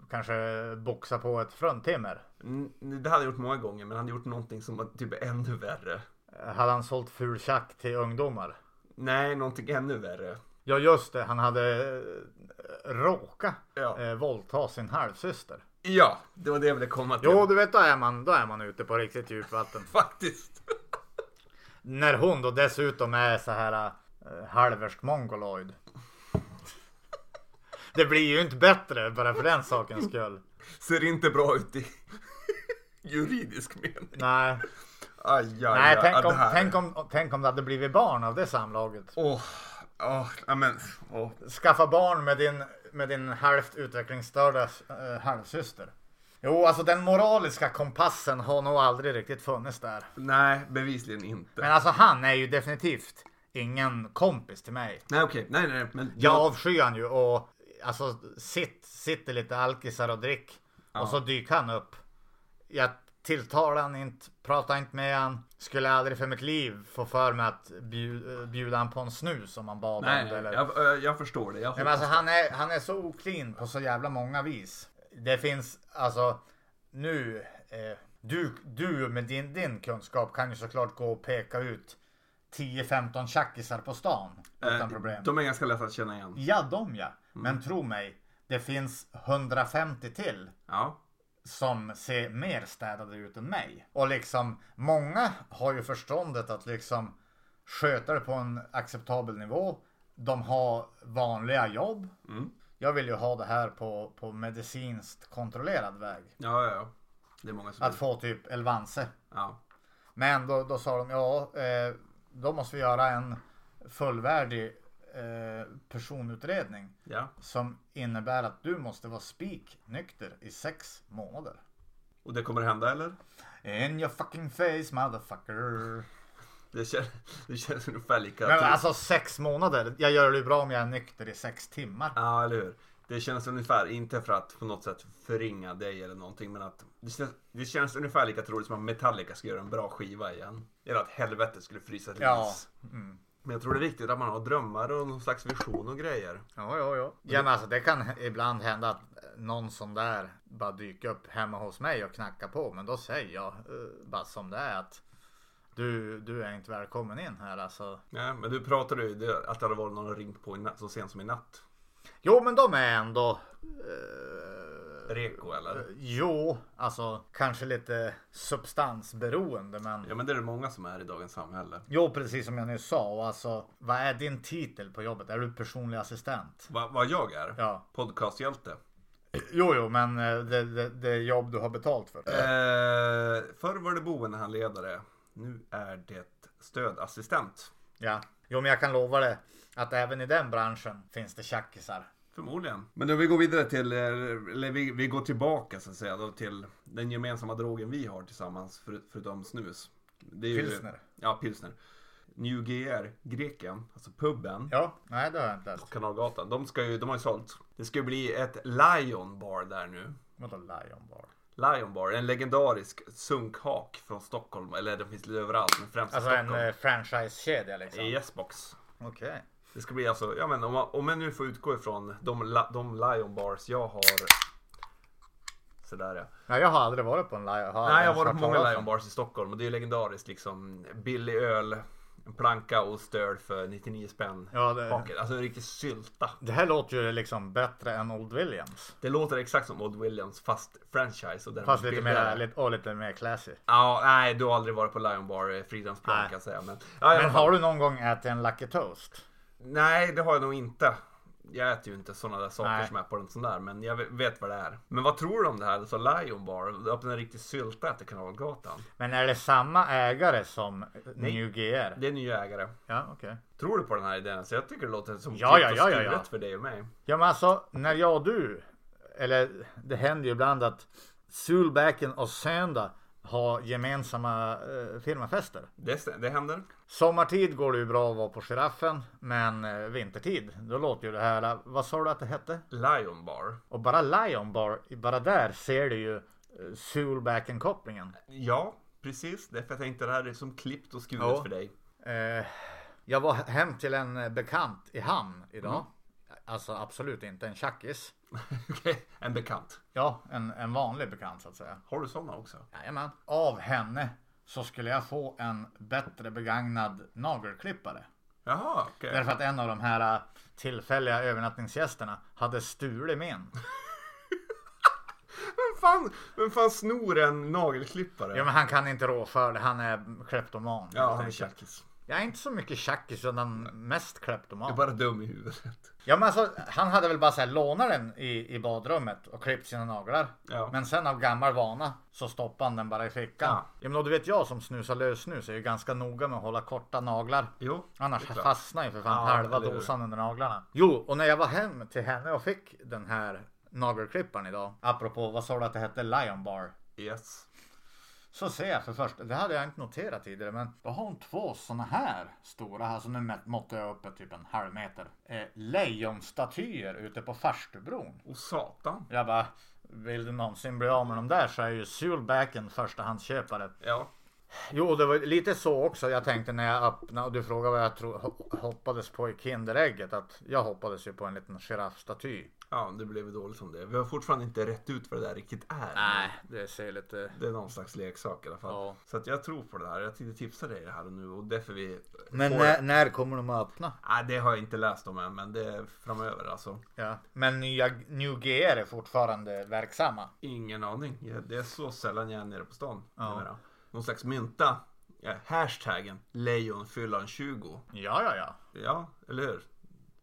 Speaker 1: kanske boxat på ett fruntimmer?
Speaker 2: Mm, Det hade han gjort många gånger, men han hade gjort någonting som var typ ännu värre.
Speaker 1: Hade han sålt ful tjack till ungdomar?
Speaker 2: Nej, någonting ännu värre.
Speaker 1: Ja just det, han hade eh, råkat
Speaker 2: Ja.
Speaker 1: eh, våldta sin halvsyster.
Speaker 2: Ja, det var det jag ville komma till.
Speaker 1: Jo du vet då är man, då är man ute på riktigt djupvatten.
Speaker 2: Faktiskt. [laughs]
Speaker 1: När hon då dessutom är så här eh, halversk mongoloid. Det blir ju inte bättre bara för den sakens skull.
Speaker 2: Ser inte bra ut i [laughs] juridisk mening.
Speaker 1: Nej,
Speaker 2: Aj, aj,
Speaker 1: Nej
Speaker 2: aj.
Speaker 1: tänk,
Speaker 2: Ja, det
Speaker 1: om,
Speaker 2: här-
Speaker 1: tänk, om, tänk om det hade blivit barn av det samlaget.
Speaker 2: Åh, åh, ja men. Åh.
Speaker 1: Skaffa barn med din, med din halvt utvecklingsstörda eh, halvsyster. Jo, alltså den moraliska kompassen har nog aldrig riktigt funnits där.
Speaker 2: Nej, bevisligen inte.
Speaker 1: Men alltså han är ju definitivt ingen kompis till mig.
Speaker 2: Nej, okej. Nej, nej, nej. Men
Speaker 1: Jag avskyr han ju och alltså sitt, sitter lite alkisar och drick. Och så dyker han upp. Jag tilltalar han inte, pratar inte med han. Skulle aldrig för mitt liv få för mig att bjuda, bjuda han på en snus om han bad om
Speaker 2: Nej,
Speaker 1: det. Eller...
Speaker 2: jag, jag, eh, jag förstår det. Jag
Speaker 1: Nej, men alltså, han, är, han är så oklin på så jävla många vis. Det finns alltså nu. Eh, du, du med din, din kunskap kan ju såklart gå och peka ut 10-15 tjackisar på stan utan
Speaker 2: Eh,
Speaker 1: problem.
Speaker 2: De är ganska lätta att känna igen.
Speaker 1: Ja, de ja. Men tro mig, det finns 150 till
Speaker 2: Ja.
Speaker 1: som ser mer städade ut än mig. Och liksom, många har ju förståndet att liksom sköta det på en acceptabel nivå. De har vanliga jobb. Jag vill ju ha det här på, på medicinskt kontrollerad väg.
Speaker 2: Ja, ja, ja. Det är många som
Speaker 1: Att få typ Elvanse.
Speaker 2: Ja.
Speaker 1: Men då, då sa de, ja, eh, då måste vi göra en fullvärdig eh, personutredning.
Speaker 2: ja.
Speaker 1: Som innebär att du måste vara spiknykter i sex månader.
Speaker 2: Och det kommer hända eller?
Speaker 1: In your fucking face motherfucker.
Speaker 2: Det känns, [laughs] det känns ungefär lika.
Speaker 1: Men alltså sex månader. Jag gör det ju bra om jag är nykter i sex timmar.
Speaker 2: Ja, eller hur. Det känns ungefär, inte för att på något sätt förringa dig eller någonting, men att det känns, det känns ungefär lika troligt som att Metallica ska göra en bra skiva igen. Eller att helvetet skulle frysa till
Speaker 1: Ja. Mm.
Speaker 2: is. Men jag tror det är viktigt att man har drömmar och någon slags vision och grejer.
Speaker 1: Ja, ja, ja. Ja, men alltså det kan h- ibland hända att någon sån där bara dyker upp hemma hos mig och knackar på. Men då säger jag eh, bara som det är att Du, du är inte välkommen in här alltså.
Speaker 2: Nej, men du pratade ju det- att det hade varit någon som ringt på i natt, så sent som i natt.
Speaker 1: Jo men de är ändå... eh,
Speaker 2: Reko eller?
Speaker 1: jo, alltså kanske lite substansberoende men.
Speaker 2: Ja men det är det många som är i dagens samhälle.
Speaker 1: Jo precis som jag nyss sa och alltså vad är din titel på jobbet? Är du personlig assistent?
Speaker 2: Va, vad jag är?
Speaker 1: Ja.
Speaker 2: Podcasthjälte.
Speaker 1: Jo jo men eh, det, det, det är jobb du har betalt för.
Speaker 2: Eh, förr var det boendehandledare. Nu är det stödassistent.
Speaker 1: Ja. Jo men jag kan lova dig att även i den branschen finns det tjackisar.
Speaker 2: Förmodligen. Men då vi går vidare till, eh, eller vi, vi går tillbaka så att säga då till den gemensamma drogen vi har tillsammans för, förutom snus. Det är ju-
Speaker 1: Pilsner.
Speaker 2: Ja, pilsner. New GR, Greken, alltså puben.
Speaker 1: Ja, nej det har jag inte
Speaker 2: på
Speaker 1: ätit.
Speaker 2: Kanalgatan. De, ska ju, de har ju sålt. Det ska ju bli ett Lion Bar där nu.
Speaker 1: Vadå Lion Bar?
Speaker 2: Lion Bar, en legendarisk sunkhak från Stockholm. Eller den finns lite överallt, men främst i
Speaker 1: Alltså en
Speaker 2: Stockholm.
Speaker 1: eh, franchisekedja liksom?
Speaker 2: I Yesbox.
Speaker 1: Okej.
Speaker 2: Det ska bli alltså, ja men om, man- om jag nu får utgå ifrån de, la- de Lion Bars jag har. Sådär ja.
Speaker 1: Nej, jag har aldrig varit på en Lion Bar.
Speaker 2: Nej, jag har varit på många Lion Bars i Stockholm och det är ju legendariskt liksom. Billig öl, en planka och stöd för 99 spänn.
Speaker 1: Ja, det-
Speaker 2: Haken. Alltså en riktig sylta.
Speaker 1: Det här låter ju liksom bättre än Old Williams.
Speaker 2: Det låter exakt som Old Williams fast franchise. Och däremot
Speaker 1: Fast lite
Speaker 2: billigare.
Speaker 1: mer, lite, och lite mer classy.
Speaker 2: Ja, nej, du har aldrig varit på Lion Bar, eh, Fridhems plan
Speaker 1: Nej.
Speaker 2: kan jag säga. Men, ja, i alla
Speaker 1: Men
Speaker 2: fall.
Speaker 1: har du någon gång ätit en Lucky Toast?
Speaker 2: Nej, det har jag nog inte. Jag äter ju inte sådana där saker
Speaker 1: Nej.
Speaker 2: som är på en sån där, men jag ve- vet vad det är. Men vad tror du om det här? Alltså Lion Bar, öppna en riktig sylta efter Kanalgatan.
Speaker 1: Men är det samma ägare som eh, New GR?
Speaker 2: Det är nya ägare.
Speaker 1: Ja, okej.
Speaker 2: Tror du på den här idén? Så jag tycker det låter som
Speaker 1: Ja, ja,
Speaker 2: klippt
Speaker 1: ja,
Speaker 2: och
Speaker 1: ja, ja.
Speaker 2: skuret för dig och mig.
Speaker 1: Ja, men alltså när jag och du, eller det händer ju ibland att Sulbacken och Söndag har gemensamma eh, firmafester.
Speaker 2: Det, stä- det händer.
Speaker 1: Sommartid går det ju bra att vara på giraffen, men eh, vintertid, då låter ju det här, eh, vad sa du att det hette?
Speaker 2: Lion Bar.
Speaker 1: Och bara Lion Bar, bara där ser du ju eh, Soulbacken-kopplingen.
Speaker 2: Ja, precis. Därför jag tänkte det här är som klippt och skuret
Speaker 1: Ja.
Speaker 2: för dig. [laughs]
Speaker 1: Eh, jag var hem till en eh, bekant i hamn idag. Alltså absolut inte en tjackis.
Speaker 2: Okej, en bekant.
Speaker 1: Ja, en, en vanlig bekant så att säga.
Speaker 2: Har du sådana också?
Speaker 1: Jajamän. Av henne så skulle jag få en bättre begagnad nagelklippare.
Speaker 2: Jaha, okej.
Speaker 1: Därför att en av de här eh, tillfälliga övernattningsgästerna hade stulit min.
Speaker 2: Vem fan, vem fan snor en nagelklippare?
Speaker 1: Ja men han kan inte rå för det, han är kleptoman.
Speaker 2: Ja, han är tjackis.
Speaker 1: Jag är inte så mycket tjackis utan mest kleptoman.
Speaker 2: Du är bara dum i huvudet.
Speaker 1: Ja men alltså, han hade väl bara så här, lånat den i, i badrummet och klippt sina naglar.
Speaker 2: Ja.
Speaker 1: Men sen av gammal vana så stoppade han den bara i fickan.
Speaker 2: Ja.
Speaker 1: Ja. men då, du vet jag som snusar lössnus är ju ganska noga med att hålla korta naglar.
Speaker 2: Jo,
Speaker 1: Annars
Speaker 2: det är klart.
Speaker 1: fastnar ju för fan
Speaker 2: Ja,
Speaker 1: halva
Speaker 2: eller hur?
Speaker 1: dosan under naglarna. Jo, och när jag var hem till henne och fick den här nagelklipparen idag. Apropå, vad sa du att det hette? Lion Bar.
Speaker 2: Yes.
Speaker 1: Så ser jag för först, det hade jag inte noterat tidigare, men då har hon två såna här stora, alltså nu mä- måttar jag upp ett typ en halv meter, eh, lejonstatyer ute på farstubron.
Speaker 2: Och satan.
Speaker 1: Jag bara, vill du någonsin bli av med dem där så är ju Sulbacken förstahandsköpare.
Speaker 2: Ja.
Speaker 1: Jo, det var lite så också jag tänkte när jag öppnade och du frågade vad jag tro, ho- hoppades på i Kinderägget, att jag hoppades ju på en liten giraffstaty.
Speaker 2: ja, det blev ju dåligt som det. Vi har fortfarande inte rätt ut vad det där riktigt är.
Speaker 1: det ser lite...
Speaker 2: Det är någon slags leksak i alla fall.
Speaker 1: Ja.
Speaker 2: Så att jag tror på det här. Jag tänkte tipsa dig det här och nu och därför vi...
Speaker 1: Men eh,
Speaker 2: får-
Speaker 1: när, när kommer de att öppna?
Speaker 2: Nej, det har jag inte läst om än, men det är framöver alltså.
Speaker 1: Ja. Men nya New GR är fortfarande verksamma.
Speaker 2: Ingen aning. Ja, Det är så sällan jag är nere på stan.
Speaker 1: Ja.
Speaker 2: numera. Någon slags mynta. Ja, hashtaggen lejonfyllan20.
Speaker 1: Ja, ja, ja.
Speaker 2: Ja, eller hur?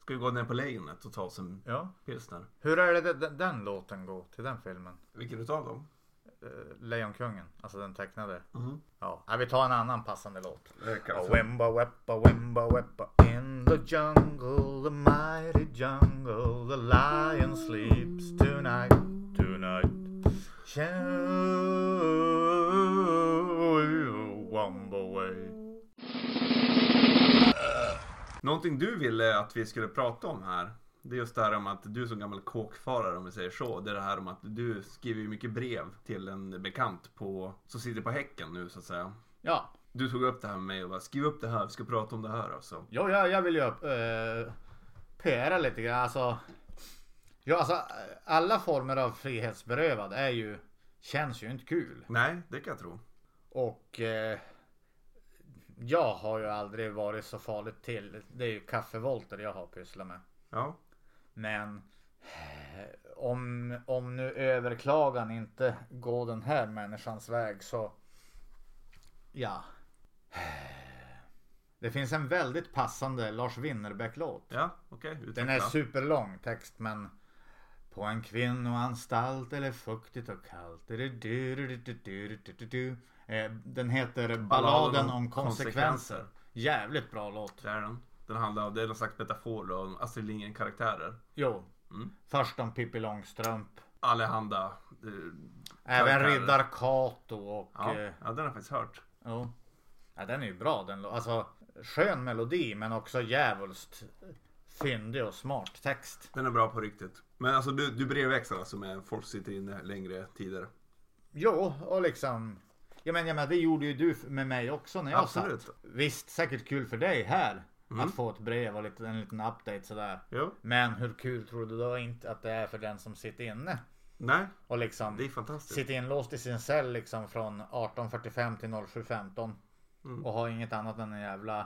Speaker 2: Ska vi gå ner på lejonet och ta oss en
Speaker 1: ja.
Speaker 2: pilsner?
Speaker 1: Hur är det de- den, den låten går till den filmen?
Speaker 2: Vilken utav dem?
Speaker 1: Eh, Lejonkungen, alltså den tecknade. Ja. ja, vi tar en annan passande låt.
Speaker 2: Ja, Wem-
Speaker 1: Wemba weppa wemba weppa In the jungle, the mighty jungle The lion sleeps tonight, tonight Wamba way
Speaker 2: Någonting du ville att vi skulle prata om här. Det är just det här om att du som gammal kåkfarare om vi säger så. Det är det här om att du skriver ju mycket brev till en bekant på, som sitter på häcken nu så att säga.
Speaker 1: Ja,
Speaker 2: Du tog upp det här med mig och bara skriv upp det här, vi ska prata om det här alltså.
Speaker 1: Jo, jag, jag vill ju uh, PRa lite grann. Alltså, ja, alltså, eh, alla former av frihetsberövad är ju, känns ju inte kul.
Speaker 2: Nej, det kan jag tro.
Speaker 1: Och eh, Jag har ju aldrig varit så farligt till. Det är ju kaffevolter jag har pysslat med.
Speaker 2: Ja.
Speaker 1: Men eh, om, om nu överklagan inte går den här människans väg så ja. Det finns en väldigt passande Lars Winnerbäck-låt.
Speaker 2: Ja, okej.
Speaker 1: Den är
Speaker 2: utveckla.
Speaker 1: superlång text men på en kvinnoanstalt eller fuktigt och kallt. Du, du, du, du, du, du, du, du, du. Eh, Den heter Balladen om konsekvenser. Jävligt bra låt.
Speaker 2: Det är den. Den handlar om, det är någon slags metafor då, om Astrid Lindgren-karaktärer.
Speaker 1: Jo.
Speaker 2: Mm.
Speaker 1: Först om Pippi Långstrump.
Speaker 2: Allehanda. eh,
Speaker 1: Även
Speaker 2: Karaktärer.
Speaker 1: Riddar Kato och...
Speaker 2: Ja,
Speaker 1: eh,
Speaker 2: ja, den har jag faktiskt hört.
Speaker 1: jo. ja, den är ju bra den lo- Alltså skön melodi men också djävulskt fyndig och smart text.
Speaker 2: Den är bra på riktigt. Men alltså du, du brevväxlar alltså med folk som sitter inne längre tider?
Speaker 1: Jo, och liksom... Jag menar, jag menar, det gjorde ju du med mig också när jag
Speaker 2: Absolut. Mm.
Speaker 1: satt. Visst, säkert kul för dig här. Att få ett brev och lite, en liten update sådär.
Speaker 2: Jo.
Speaker 1: Men hur kul tror du då inte att det är för den som sitter inne?
Speaker 2: Nej,
Speaker 1: Och liksom
Speaker 2: det är fantastiskt.
Speaker 1: sitter inlåst i sin cell liksom från 18.45 till 07.15.
Speaker 2: Mm.
Speaker 1: Och har inget annat än en jävla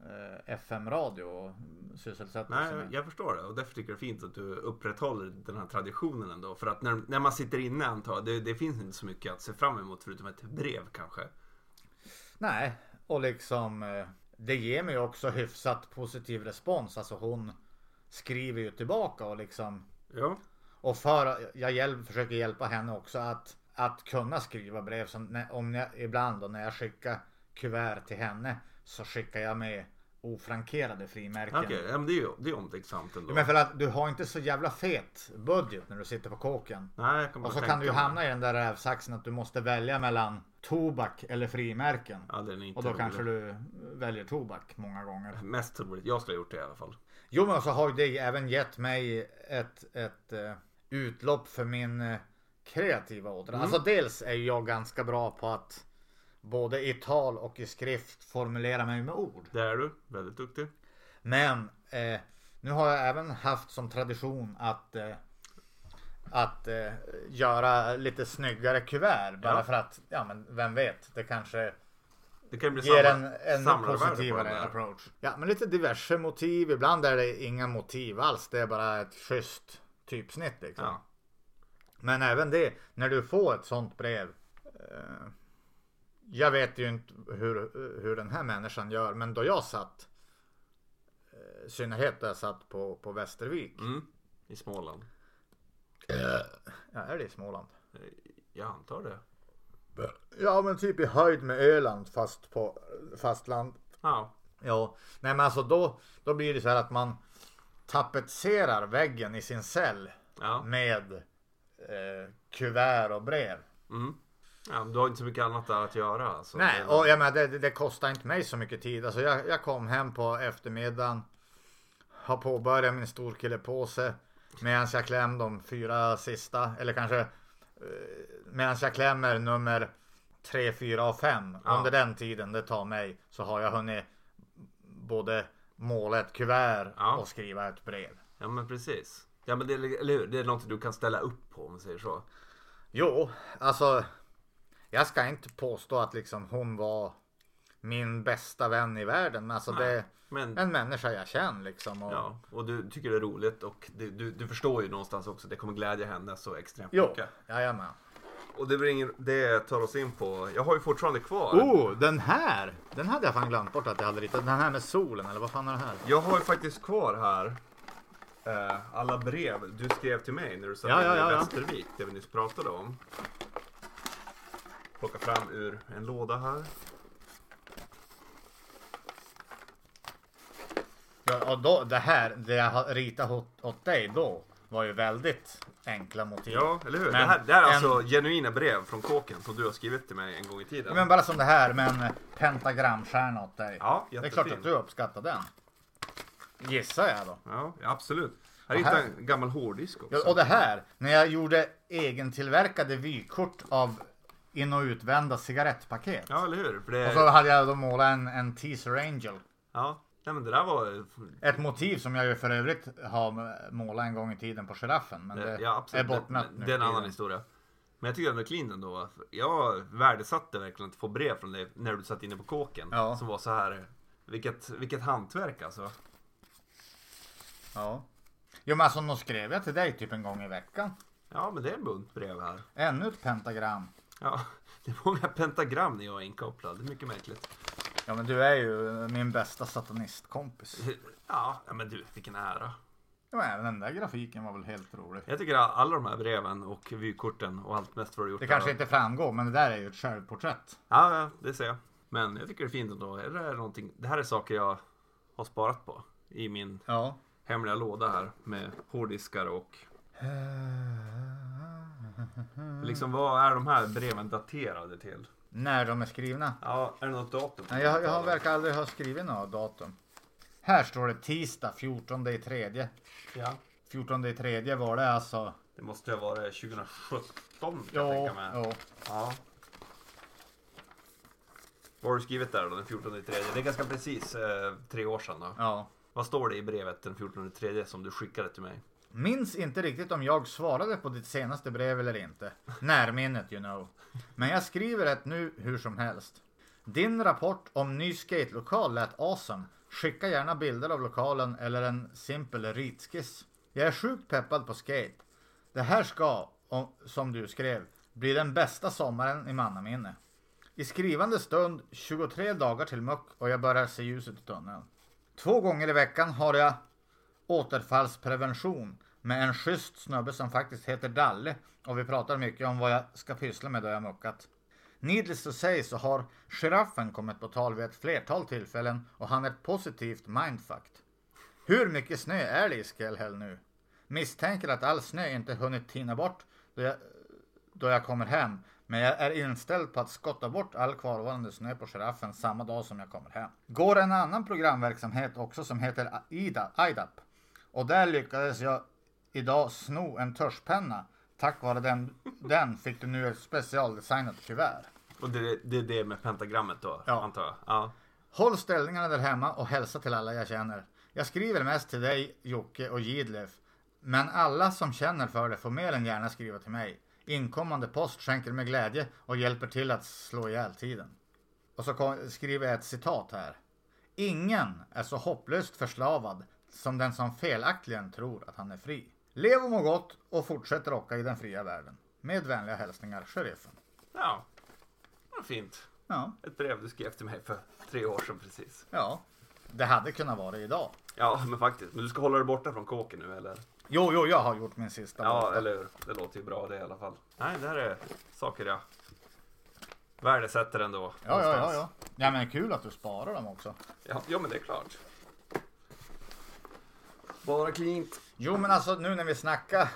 Speaker 1: eh, FM-radio och sysselsätta
Speaker 2: Nej,
Speaker 1: sig med.
Speaker 2: jag- jag förstår det. Och därför tycker jag det är fint att du upprätthåller den här traditionen ändå. För att när, när man sitter inne antar jag, det, det finns inte så mycket att se fram emot förutom ett brev kanske.
Speaker 1: Nej, och liksom eh, det ger mig också hyfsat positiv respons. Alltså hon skriver ju tillbaka och liksom
Speaker 2: Ja.
Speaker 1: och för jag hjälp, försöker hjälpa henne också att att kunna skriva brev. Som när, om jag, ibland då när jag skickar kuvert till henne så skickar jag med ofrankerade frimärken.
Speaker 2: Okej, ja, men det är ju det är omtänksamt ändå.
Speaker 1: Men för att du har inte så jävla fet budget när du sitter på kåken.
Speaker 2: Nej, jag kommer
Speaker 1: Och
Speaker 2: att
Speaker 1: så
Speaker 2: tänka
Speaker 1: kan du ju
Speaker 2: mig.
Speaker 1: hamna i den där rävsaxen att du måste välja mellan tobak eller frimärken.
Speaker 2: Ja, den är inte
Speaker 1: Och då
Speaker 2: rolig.
Speaker 1: kanske du väljer tobak många gånger.
Speaker 2: Mest troligt. Jag skulle ha gjort det i alla fall.
Speaker 1: Jo men så har ju det även gett mig ett, ett eh, utlopp för min eh, kreativa ådra. Alltså dels är jag ganska bra på att både i tal och i skrift formulera mig med ord.
Speaker 2: Det är du. Väldigt duktig.
Speaker 1: Men eh, nu har jag även haft som tradition att eh, att eh, göra lite snyggare kuvert bara
Speaker 2: Ja.
Speaker 1: för att, ja men vem vet, det kanske
Speaker 2: Det kan ju bli
Speaker 1: ger en
Speaker 2: samla-
Speaker 1: en
Speaker 2: samlarvärde på den
Speaker 1: positivare
Speaker 2: där.
Speaker 1: approach. Ja, men lite diverse motiv. Ibland är det inga motiv alls. Det är bara ett schysst typsnitt. Liksom.
Speaker 2: Ja.
Speaker 1: Men även det, när du får ett sånt brev. Eh, jag vet ju inte hur, hur den här människan gör, men då jag satt, eh, i synnerhet där jag satt på, på Västervik.
Speaker 2: Mm. I Småland.
Speaker 1: Ja, är det i Småland?
Speaker 2: Eh, Jag antar det.
Speaker 1: Ja, men typ i höjd med Öland fast på fastland.
Speaker 2: Ja.
Speaker 1: Ja, nej men alltså då, då blir det så här att man tapetserar väggen i sin cell
Speaker 2: Ja.
Speaker 1: med eh, kuvert och brev.
Speaker 2: Mm. ja. men Du har inte så mycket annat där att göra. Alltså.
Speaker 1: Nej,
Speaker 2: Det-
Speaker 1: och jag menar, det, det- det kostar inte mig så mycket tid. Alltså jag, jag kom hem på eftermiddagen, har påbörjat min storkillepåse medan jag klämmer de fyra sista, eller kanske eh, medan jag klämmer nummer tre, fyra och fem.
Speaker 2: Ja.
Speaker 1: Under den tiden det tar mig så har jag hunnit både måla ett kuvert
Speaker 2: Ja.
Speaker 1: och skriva ett brev.
Speaker 2: Ja men precis. Ja men det, är- eller hur? det är något du kan ställa upp på om vi säger så.
Speaker 1: Jo, alltså. Jag ska inte påstå att liksom hon var min bästa vän i världen. Men alltså
Speaker 2: Nej,
Speaker 1: det är
Speaker 2: men-
Speaker 1: en människa jag känner liksom. Och,
Speaker 2: Ja, och du tycker det är roligt och du, du, du förstår ju någonstans också att det kommer glädja henne så extremt
Speaker 1: Jo,
Speaker 2: mycket.
Speaker 1: jajamän.
Speaker 2: Och det, bringer, det tar oss in på, jag har ju fortfarande kvar.
Speaker 1: Oh, den här! Den hade jag fan glömt bort att jag hade ritat. Den här med solen eller vad fan är det här?
Speaker 2: Jag har ju faktiskt kvar här eh, alla brev du skrev till mig när du satt
Speaker 1: Ja,
Speaker 2: inne
Speaker 1: ja, ja,
Speaker 2: i
Speaker 1: ja.
Speaker 2: Västervik, det vi nyss pratade om. Plocka fram ur en låda här.
Speaker 1: Ja, och då, det här, det jag har ritat åt, åt dig då var ju väldigt enkla motiv.
Speaker 2: Ja, eller hur? det,
Speaker 1: Men
Speaker 2: här, det här är
Speaker 1: en-
Speaker 2: alltså genuina brev från kåken som du har skrivit till mig en gång i tiden.
Speaker 1: Men bara som det här med en pentagramstjärna åt dig.
Speaker 2: Ja,
Speaker 1: det är klart
Speaker 2: jättefin.
Speaker 1: att du uppskattar den. Gissar jag då.
Speaker 2: Ja, ja, absolut. Här hittade
Speaker 1: här-
Speaker 2: jag en gammal hårddisk också.
Speaker 1: Ja, och det här, när jag gjorde egentillverkade vykort av in och utvända cigarettpaket.
Speaker 2: Ja, eller hur? För det...
Speaker 1: Och så hade jag då målat en, en teaser angel.
Speaker 2: Ja, nej men det där var...
Speaker 1: Ett motiv som jag ju för övrigt har målat en gång i tiden på giraffen. Men det
Speaker 2: Ja,
Speaker 1: är
Speaker 2: absolut.
Speaker 1: bortnött
Speaker 2: det,
Speaker 1: nu.
Speaker 2: det är en
Speaker 1: för
Speaker 2: annan
Speaker 1: tiden.
Speaker 2: historia. Men jag tycker den var clean ändå. va? För Jag värdesatte verkligen att få brev från dig när du satt inne på kåken.
Speaker 1: Ja.
Speaker 2: Som var så här. Vilket, vilket hantverk alltså.
Speaker 1: Ja. Jo men alltså nog skrev jag till dig typ en gång i veckan.
Speaker 2: Ja, men det är en bunt brev här.
Speaker 1: Ännu ett pentagram.
Speaker 2: Ja, [laughs] det är många pentagram när jag är inkopplad. Det är mycket märkligt.
Speaker 1: Ja men du är ju eh, min bästa satanistkompis.
Speaker 2: Ja, ja, men du, vilken ära.
Speaker 1: Ja, men den där grafiken var väl helt rolig.
Speaker 2: Jag tycker all- alla de här breven och vykorten och allt mest vad du har gjort.
Speaker 1: Det
Speaker 2: där.
Speaker 1: kanske inte framgår men det där är ju ett självporträtt.
Speaker 2: Ja, ja, det ser jag. Men jag tycker det är fint ändå. Det här är, någonting, det här är saker jag har sparat på i min
Speaker 1: Ja.
Speaker 2: hemliga låda här med hårddiskar och
Speaker 1: Mm.
Speaker 2: liksom vad är de här breven daterade till?
Speaker 1: När de är skrivna.
Speaker 2: Ja, är det något datum?
Speaker 1: Nej, jag, jag verkar aldrig ha skrivit några datum. Här står det tisdag 14 i tredje.
Speaker 2: Ja,
Speaker 1: 14 i tredje var det alltså.
Speaker 2: det måste ju ha varit 2017 kan jag
Speaker 1: Jo,
Speaker 2: tänka mig.
Speaker 1: jo.
Speaker 2: Ja. Vad har du skrivit där då den 14 i tredje? Det är ganska precis eh, tre år sedan då.
Speaker 1: Ja.
Speaker 2: Vad står det i brevet den 14 i tredje som du skickade till mig?
Speaker 1: Minns inte riktigt om jag svarade på ditt senaste brev eller inte. Närminnet you know. Men jag skriver det nu hur som helst. Din rapport om ny skatelokal lät awesome. Skicka gärna bilder av lokalen eller en simpel ritskiss. Jag är sjukt peppad på skate. Det här ska, om- som du skrev, bli den bästa sommaren i mannaminne. I skrivande stund 23 dagar till muck och jag börjar se ljuset i tunneln. Två gånger i veckan har jag återfallsprevention med en schysst snubbe som faktiskt heter Dalle och vi pratar mycket om vad jag ska pyssla med då jag muckat. Needless to say så har giraffen kommit på tal vid ett flertal tillfällen och han är ett positivt mindfucked. Hur mycket snö är det i Skellhäll nu? Misstänker att all snö inte hunnit tina bort då jag, då jag kommer hem, men jag är inställd på att skotta bort all kvarvarande snö på giraffen samma dag som jag kommer hem. Går en annan programverksamhet också som heter IDA, IDAP och där lyckades jag idag sno en törspenna. Tack vare den, den fick du nu ett specialdesignat kuvert.
Speaker 2: Och det, det är det med pentagrammet då,
Speaker 1: Ja.
Speaker 2: antar jag? Ja.
Speaker 1: Håll ställningarna där hemma och hälsa till alla jag känner. Jag skriver mest till dig, Jocke och Gidlef. Men alla som känner för det får mer än gärna skriva till mig. Inkommande post skänker mig glädje och hjälper till att slå ihjäl tiden. Och så kom- skriver jag ett citat här. Ingen är så hopplöst förslavad som den som felaktigen tror att han är fri. Lev och må gott och fortsätt rocka i den fria världen. Med vänliga hälsningar, sheriffen.
Speaker 2: Ja. Vad fint.
Speaker 1: Ja,
Speaker 2: Ett brev du skrev till mig för tre år sedan precis.
Speaker 1: ja. Det hade kunnat vara idag.
Speaker 2: Ja, men faktiskt. Men du ska hålla dig borta från kåken nu, eller?
Speaker 1: Jo, jo, jag har gjort min sista.
Speaker 2: Ja, eller hur? Det låter ju bra det i alla fall. Nej, det här är saker jag värdesätter ändå.
Speaker 1: Ja, ja, ja,
Speaker 2: någonstans.
Speaker 1: ja. Ja, men kul att du sparar dem också.
Speaker 2: ja. Ja, men det är klart. Bara klint.
Speaker 1: Jo, men alltså nu när vi snackar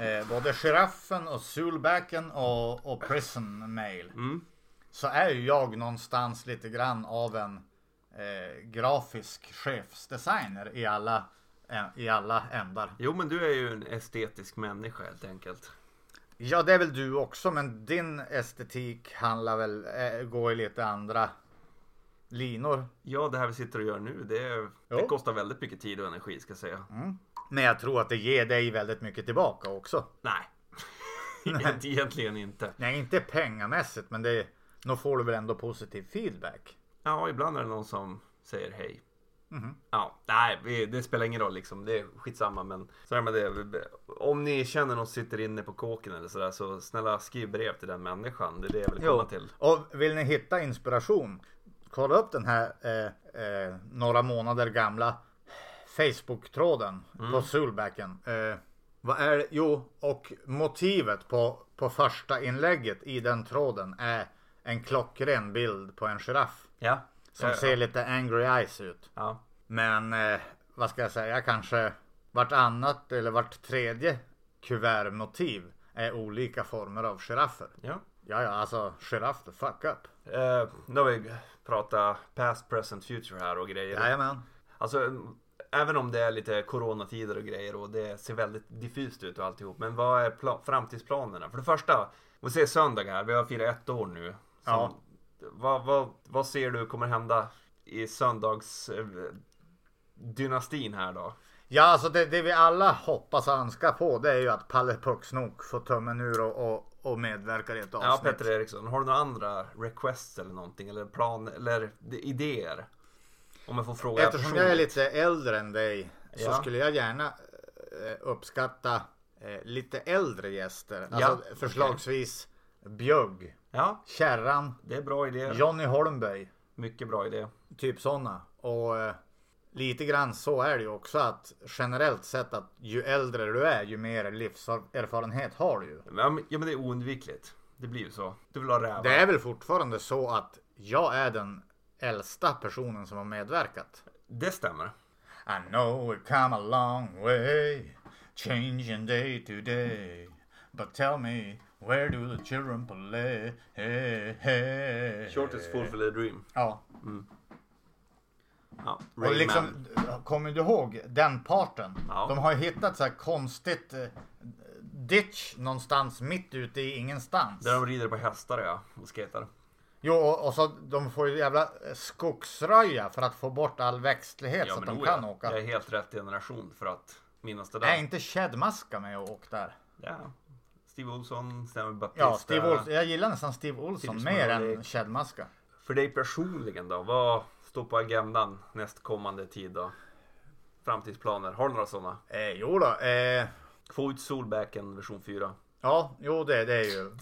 Speaker 1: eh, både giraffen och Zulbacken och, och prison mail.
Speaker 2: Mm.
Speaker 1: Så är ju jag någonstans lite grann av en eh, grafisk chefsdesigner i alla, eh, i alla ändar.
Speaker 2: Jo, men du är ju en estetisk människa helt enkelt.
Speaker 1: Ja, det är väl du också, men din estetik handlar väl, eh, går i lite andra linor.
Speaker 2: Ja, det här vi sitter och gör nu, det, det
Speaker 1: Jo.
Speaker 2: kostar väldigt mycket tid och energi ska jag säga.
Speaker 1: Mm. Men jag tror att det ger dig väldigt mycket tillbaka också.
Speaker 2: Nej, [laughs] Egent- egentligen inte.
Speaker 1: Nej, inte pengamässigt, men det, nog får du väl ändå positiv feedback.
Speaker 2: Ja, ibland är det någon som säger hej.
Speaker 1: Mm-hmm.
Speaker 2: Ja, nej, vi- det spelar ingen roll liksom. Det är skitsamma. Men så här med det, om ni känner någon som sitter inne på kåken eller sådär så snälla skriv brev till den människan. Det är det jag vill komma till.
Speaker 1: Och vill ni hitta inspiration, kolla upp den här eh, eh, några månader gamla Facebook-tråden på Solbacken. Eh, vad är det? Jo, och motivet på, på första inlägget i den tråden är en klockren bild på en giraff
Speaker 2: Ja,
Speaker 1: som
Speaker 2: ja,
Speaker 1: ser lite angry eyes ut.
Speaker 2: ja.
Speaker 1: Men eh, vad ska jag säga, kanske vartannat eller vart tredje kuvertmotiv är olika former av giraffer.
Speaker 2: ja.
Speaker 1: Ja, ja, alltså giraff the fuck up.
Speaker 2: Eh, nu har vi pratat past, present, future här och grejer.
Speaker 1: Jajamän.
Speaker 2: Alltså, mm, även om det är lite coronatider och grejer och det ser väldigt diffust ut och alltihop. Men vad är pla- framtidsplanerna? För det första, vi ser söndag här, vi har firat ett år nu. Så
Speaker 1: Ja.
Speaker 2: Vad, vad, vad ser du kommer hända i söndagsdynastin här då?
Speaker 1: Ja, alltså det, det vi alla hoppas och önskar på det är ju att Palle Pucksnok får tummen ur och, och, och medverkar i ett avsnitt.
Speaker 2: Ja, Petter Eriksson. Har du några andra requests eller någonting? Eller plan eller idéer? Om jag får fråga
Speaker 1: Eftersom jag är
Speaker 2: personligt.
Speaker 1: lite äldre än dig så
Speaker 2: Ja.
Speaker 1: skulle jag gärna eh, uppskatta eh, lite äldre gäster. Alltså
Speaker 2: Ja,
Speaker 1: förslagsvis Bjögg,
Speaker 2: Ja,
Speaker 1: Kärran,
Speaker 2: det är bra idé.
Speaker 1: Johnny Holmberg.
Speaker 2: Mycket bra idé.
Speaker 1: Typ sådana. Och eh, lite grann så är det ju också att generellt sett att ju äldre du är ju mer livserfarenhet har du ju.
Speaker 2: Ja, men ja, men det är oundvikligt. Det blir ju så. Du vill ha rävar.
Speaker 1: Det är väl fortfarande så att jag är den äldsta personen som har medverkat.
Speaker 2: det stämmer.
Speaker 1: I know we've come a long way, changing day to day. But tell me, where do the children play? Hey, hey.
Speaker 2: Short is full for the dream.
Speaker 1: Ja,
Speaker 2: Eh, Ja,
Speaker 1: och
Speaker 2: Rayman.
Speaker 1: liksom, kommer du ihåg den parten?
Speaker 2: Ja.
Speaker 1: De har ju hittat så här konstigt eh, ditch någonstans mitt ute i ingenstans.
Speaker 2: Där de rider på hästar ja, och skater.
Speaker 1: Jo, och, och så de får ju jävla eh, skogsröja för att få bort all växtlighet
Speaker 2: Ja,
Speaker 1: så att de
Speaker 2: oh,
Speaker 1: kan
Speaker 2: ja.
Speaker 1: åka.
Speaker 2: Jag är helt rätt generation för att minnas det där.
Speaker 1: Är inte Chedmaska med och åkt där?
Speaker 2: Ja. Steve Olsson, Stanley Baptiste.
Speaker 1: Ja, Steve Olsson. Jag gillar nästan Steve Olsson
Speaker 2: Steve
Speaker 1: mer
Speaker 2: Smurley.
Speaker 1: än Chad Maska.
Speaker 2: För dig personligen då? Vad står på agendan nästkommande tid då? Framtidsplaner, har du några sådana?
Speaker 1: Eh, jo då, eh,
Speaker 2: Få ut Solbacken version 4.
Speaker 1: ja, jo det, det är ju.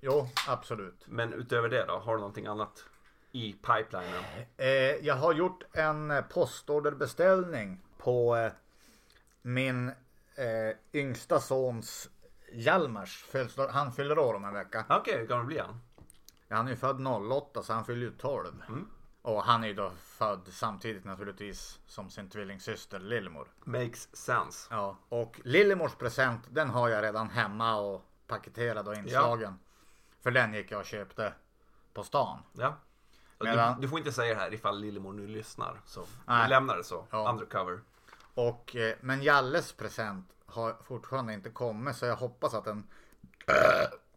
Speaker 1: Jo, absolut.
Speaker 2: Men utöver det då, har du någonting annat i pipelinen?
Speaker 1: Eh, jag har gjort en eh, postorderbeställning på eh, min eh, yngsta sons Hjalmars födelsedag. Han fyller år om en vecka.
Speaker 2: Okej, hur gammal blir han?
Speaker 1: Han är ju född 08 så han fyller ju 12. Och han är ju då född samtidigt naturligtvis som sin tvillingsyster Lillemor.
Speaker 2: Makes sense.
Speaker 1: Ja, och Lillemors present den har jag redan hemma och paketerad och inslagen. För den gick jag och köpte på stan.
Speaker 2: Ja.
Speaker 1: Medan-
Speaker 2: Du, du får inte säga det här ifall Lillemor nu lyssnar. Så
Speaker 1: Nej.
Speaker 2: vi lämnar det så.
Speaker 1: Ja.
Speaker 2: Undercover.
Speaker 1: Och, eh, men Jalles present har fortfarande inte kommit så jag hoppas att den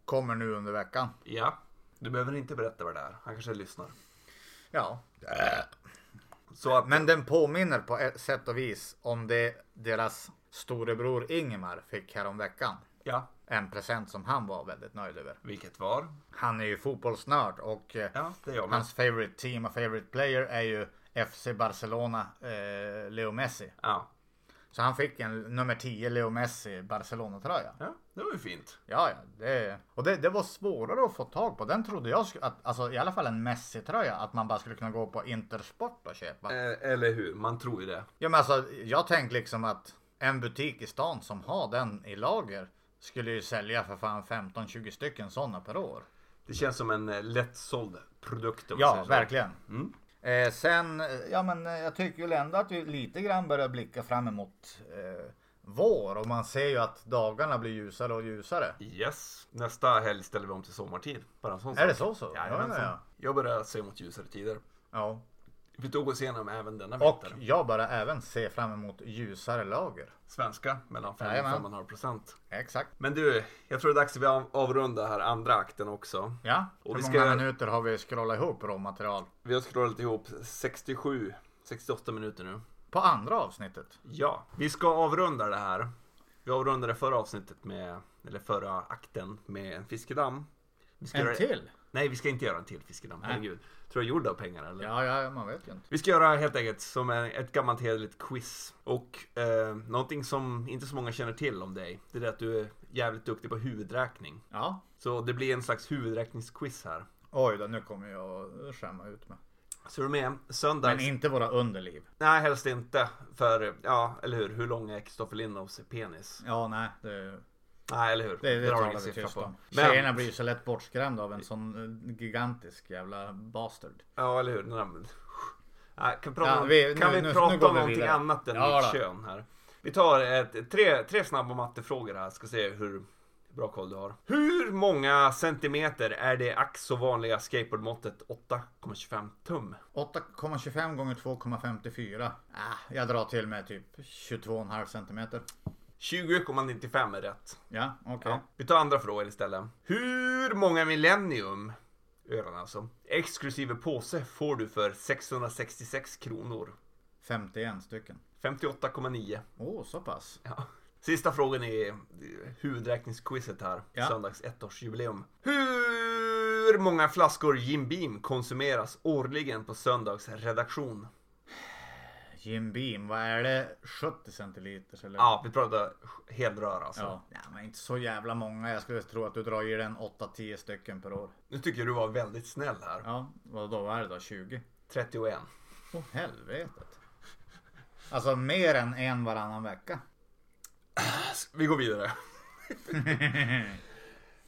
Speaker 1: kommer nu under veckan.
Speaker 2: Ja. Du behöver inte berätta vad det är. Han kanske lyssnar.
Speaker 1: Ja,
Speaker 2: Så att,
Speaker 1: men den påminner på ett sätt och vis om det deras storebror Ingemar fick häromveckan.
Speaker 2: ja.
Speaker 1: En present som han var väldigt nöjd över.
Speaker 2: Vilket var?
Speaker 1: Han är ju fotbollsnörd och eh,
Speaker 2: Ja, det är jag med.
Speaker 1: Hans favorite team och favorite player är ju FC Barcelona, eh, Leo Messi.
Speaker 2: Ja.
Speaker 1: Så han fick en nummer 10 Leo Messi Barcelona-tröja.
Speaker 2: ja, det var ju fint.
Speaker 1: Ja, ja. Det, och det, det var svårare att få tag på. Den trodde jag, skulle, att, alltså i alla fall en Messi-tröja, att man bara skulle kunna gå på Intersport och köpa.
Speaker 2: Eh, eller hur, man tror ju det.
Speaker 1: Ja, men alltså, jag tänkte liksom att en butik i stan som har den i lager skulle ju sälja för fan 15-20 stycken sådana per år.
Speaker 2: Det känns som en eh, lättsåld produkt. om man
Speaker 1: Ja,
Speaker 2: säger så.
Speaker 1: verkligen.
Speaker 2: Mm.
Speaker 1: Eh, sen, eh, ja men eh, jag tycker väl ändå att vi lite grann börjar blicka fram emot eh, vår och man ser ju att dagarna blir ljusare och ljusare.
Speaker 2: Yes. Nästa helg ställer vi om till sommartid. Bara en sån
Speaker 1: Är
Speaker 2: sak.
Speaker 1: det så så?
Speaker 2: Jajamensan.
Speaker 1: ja.
Speaker 2: Jag börjar se mot ljusare tider.
Speaker 1: ja.
Speaker 2: Vi tog oss igenom även denna
Speaker 1: Och
Speaker 2: vinter.
Speaker 1: jag börjar även se fram emot ljusare lager.
Speaker 2: Svenska mellan 5 och
Speaker 1: Jajamän.
Speaker 2: 5,5 procent.
Speaker 1: Exakt.
Speaker 2: Men du, jag tror det är dags att vi av- avrundar här andra akten också.
Speaker 1: Ja,
Speaker 2: Och
Speaker 1: hur
Speaker 2: vi
Speaker 1: många
Speaker 2: ska-
Speaker 1: minuter har vi scrollat ihop råmaterial?
Speaker 2: Vi har scrollat ihop 67, 68 minuter nu.
Speaker 1: På andra avsnittet.
Speaker 2: Ja, vi ska avrunda det här. Vi avrundade förra avsnittet med, eller förra akten med en fiskedamm. Vi ska göra- Nej, vi ska inte göra en till fiskedamm. Herregud. Tror jag gjorde av pengar eller?
Speaker 1: Ja, ja, man vet ju inte.
Speaker 2: Vi ska göra helt enkelt som en, ett gammalt hederligt quiz. Och eh, någonting som inte så många känner till om dig. Det är det att du är jävligt duktig på huvudräkning.
Speaker 1: Ja.
Speaker 2: Så det blir en slags huvudräkningsquiz här.
Speaker 1: Oj då, nu kommer jag att skämma ut mig.
Speaker 2: Så är du med? Söndags...
Speaker 1: Men inte våra underliv.
Speaker 2: Nej, helst inte. För, ja, eller hur? Hur lång är Kristoffer Lindholms penis?
Speaker 1: Ja, nej. Det...
Speaker 2: Nej, eller hur?
Speaker 1: Det, det
Speaker 2: Där har du
Speaker 1: talar
Speaker 2: ingen
Speaker 1: vi
Speaker 2: siffra
Speaker 1: tyst
Speaker 2: på.
Speaker 1: om.
Speaker 2: Men-
Speaker 1: Tjejerna blir ju så lätt bortskrämda av en sån eh, gigantisk jävla bastard.
Speaker 2: Ja, eller hur? Den där... Nej, kan prata,
Speaker 1: Ja,
Speaker 2: om-
Speaker 1: vi-
Speaker 2: kan
Speaker 1: nu-
Speaker 2: vi
Speaker 1: nu- nu
Speaker 2: prata
Speaker 1: går
Speaker 2: om
Speaker 1: vi
Speaker 2: någonting
Speaker 1: vidare.
Speaker 2: annat än
Speaker 1: Ja,
Speaker 2: mitt
Speaker 1: då.
Speaker 2: kön här? Vi tar ett, tre, tre snabba mattefrågor här, ska se hur bra koll du har. Hur många centimeter är det ack så vanliga skateboardmåttet 8,25 tum?
Speaker 1: 8,25 gånger 2,54. Ah, jag drar till med typ 22,5 centimeter.
Speaker 2: 20,95 är rätt.
Speaker 1: Ja, okej.
Speaker 2: Ja. Vi tar andra frågor istället. Hur många millennium, öarna alltså, exklusive påse får du för 666 kronor?
Speaker 1: 51 stycken.
Speaker 2: 58,9.
Speaker 1: Åh, oh, så pass.
Speaker 2: Ja. Sista frågan i huvudräkningsquizet här,
Speaker 1: Ja.
Speaker 2: söndags ettårsjubileum. Hur många flaskor Jim Beam konsumeras årligen på söndags redaktion?
Speaker 1: Jim Beam, vad är det? 70 centiliter eller?
Speaker 2: Ja, vi pratar helrör alltså.
Speaker 1: Ja. Nej, men inte så jävla många. Jag skulle tro att du drar i den 8-10 stycken per år.
Speaker 2: Nu tycker jag du var väldigt snäll här.
Speaker 1: Ja, vad då är det då? 20?
Speaker 2: 31.
Speaker 1: Åh helvetet. Alltså mer än en varannan vecka. [laughs]
Speaker 2: Vi går vidare.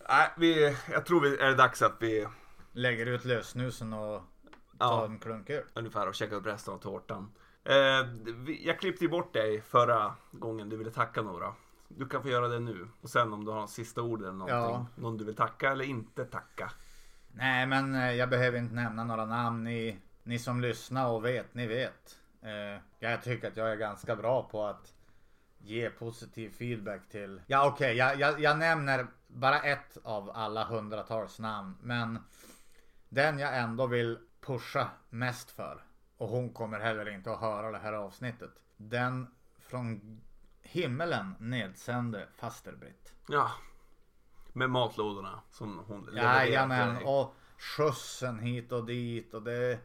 Speaker 2: Nej, vi, jag tror vi är det dags att vi
Speaker 1: Lägger ut lössnusen och tar
Speaker 2: ja,
Speaker 1: en klunk öl.
Speaker 2: ungefär och käkar upp resten av tårtan. Eh, vi- jag klippte ju bort dig förra gången du ville tacka några. Du kan få göra det nu och sen om du har sista ord eller någonting. Någon du vill tacka eller inte tacka.
Speaker 1: Nej, men eh, jag behöver inte nämna några namn. Ni, ni som lyssnar och vet, ni vet. Eh, jag tycker att jag är ganska bra på att ge positiv feedback till... Ja, okej, jag, jag, jag nämner bara ett av alla hundratals namn, men den jag ändå vill pusha mest för, och hon kommer heller inte att höra det här avsnittet, den från himmelen nedsände Fasterbritt.
Speaker 2: Ja. Med matlådorna som hon levererar till
Speaker 1: Jajamän,
Speaker 2: dig.
Speaker 1: och skjutsen hit och dit och det...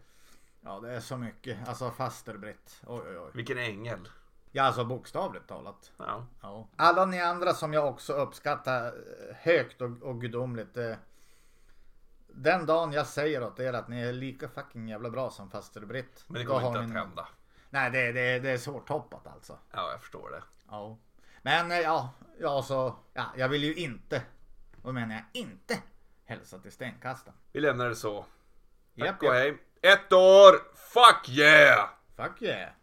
Speaker 1: Ja, det är så mycket. Alltså fasterbritt. Oj, oj, oj.
Speaker 2: Vilken ängel.
Speaker 1: Ja, alltså bokstavligt talat.
Speaker 2: Ja.
Speaker 1: Ja. Alla ni andra som jag också uppskattar eh, högt och, och gudomligt. Eh, den dagen jag säger åt er att ni är lika fucking jävla bra som fasterbritt.
Speaker 2: Men det
Speaker 1: då
Speaker 2: kommer
Speaker 1: har
Speaker 2: inte
Speaker 1: ni-
Speaker 2: att hända.
Speaker 1: Nej, det, det, det är svårtoppat alltså.
Speaker 2: Ja, jag förstår det.
Speaker 1: Ja. Men eh, ja, ja, så, ja, jag vill ju inte, vad menar jag, inte hälsa till stenkastaren.
Speaker 2: Vi lämnar det så. Tack
Speaker 1: Japp,
Speaker 2: och
Speaker 1: japp.
Speaker 2: hej. Ett år! Fuck yeah!
Speaker 1: Fuck yeah!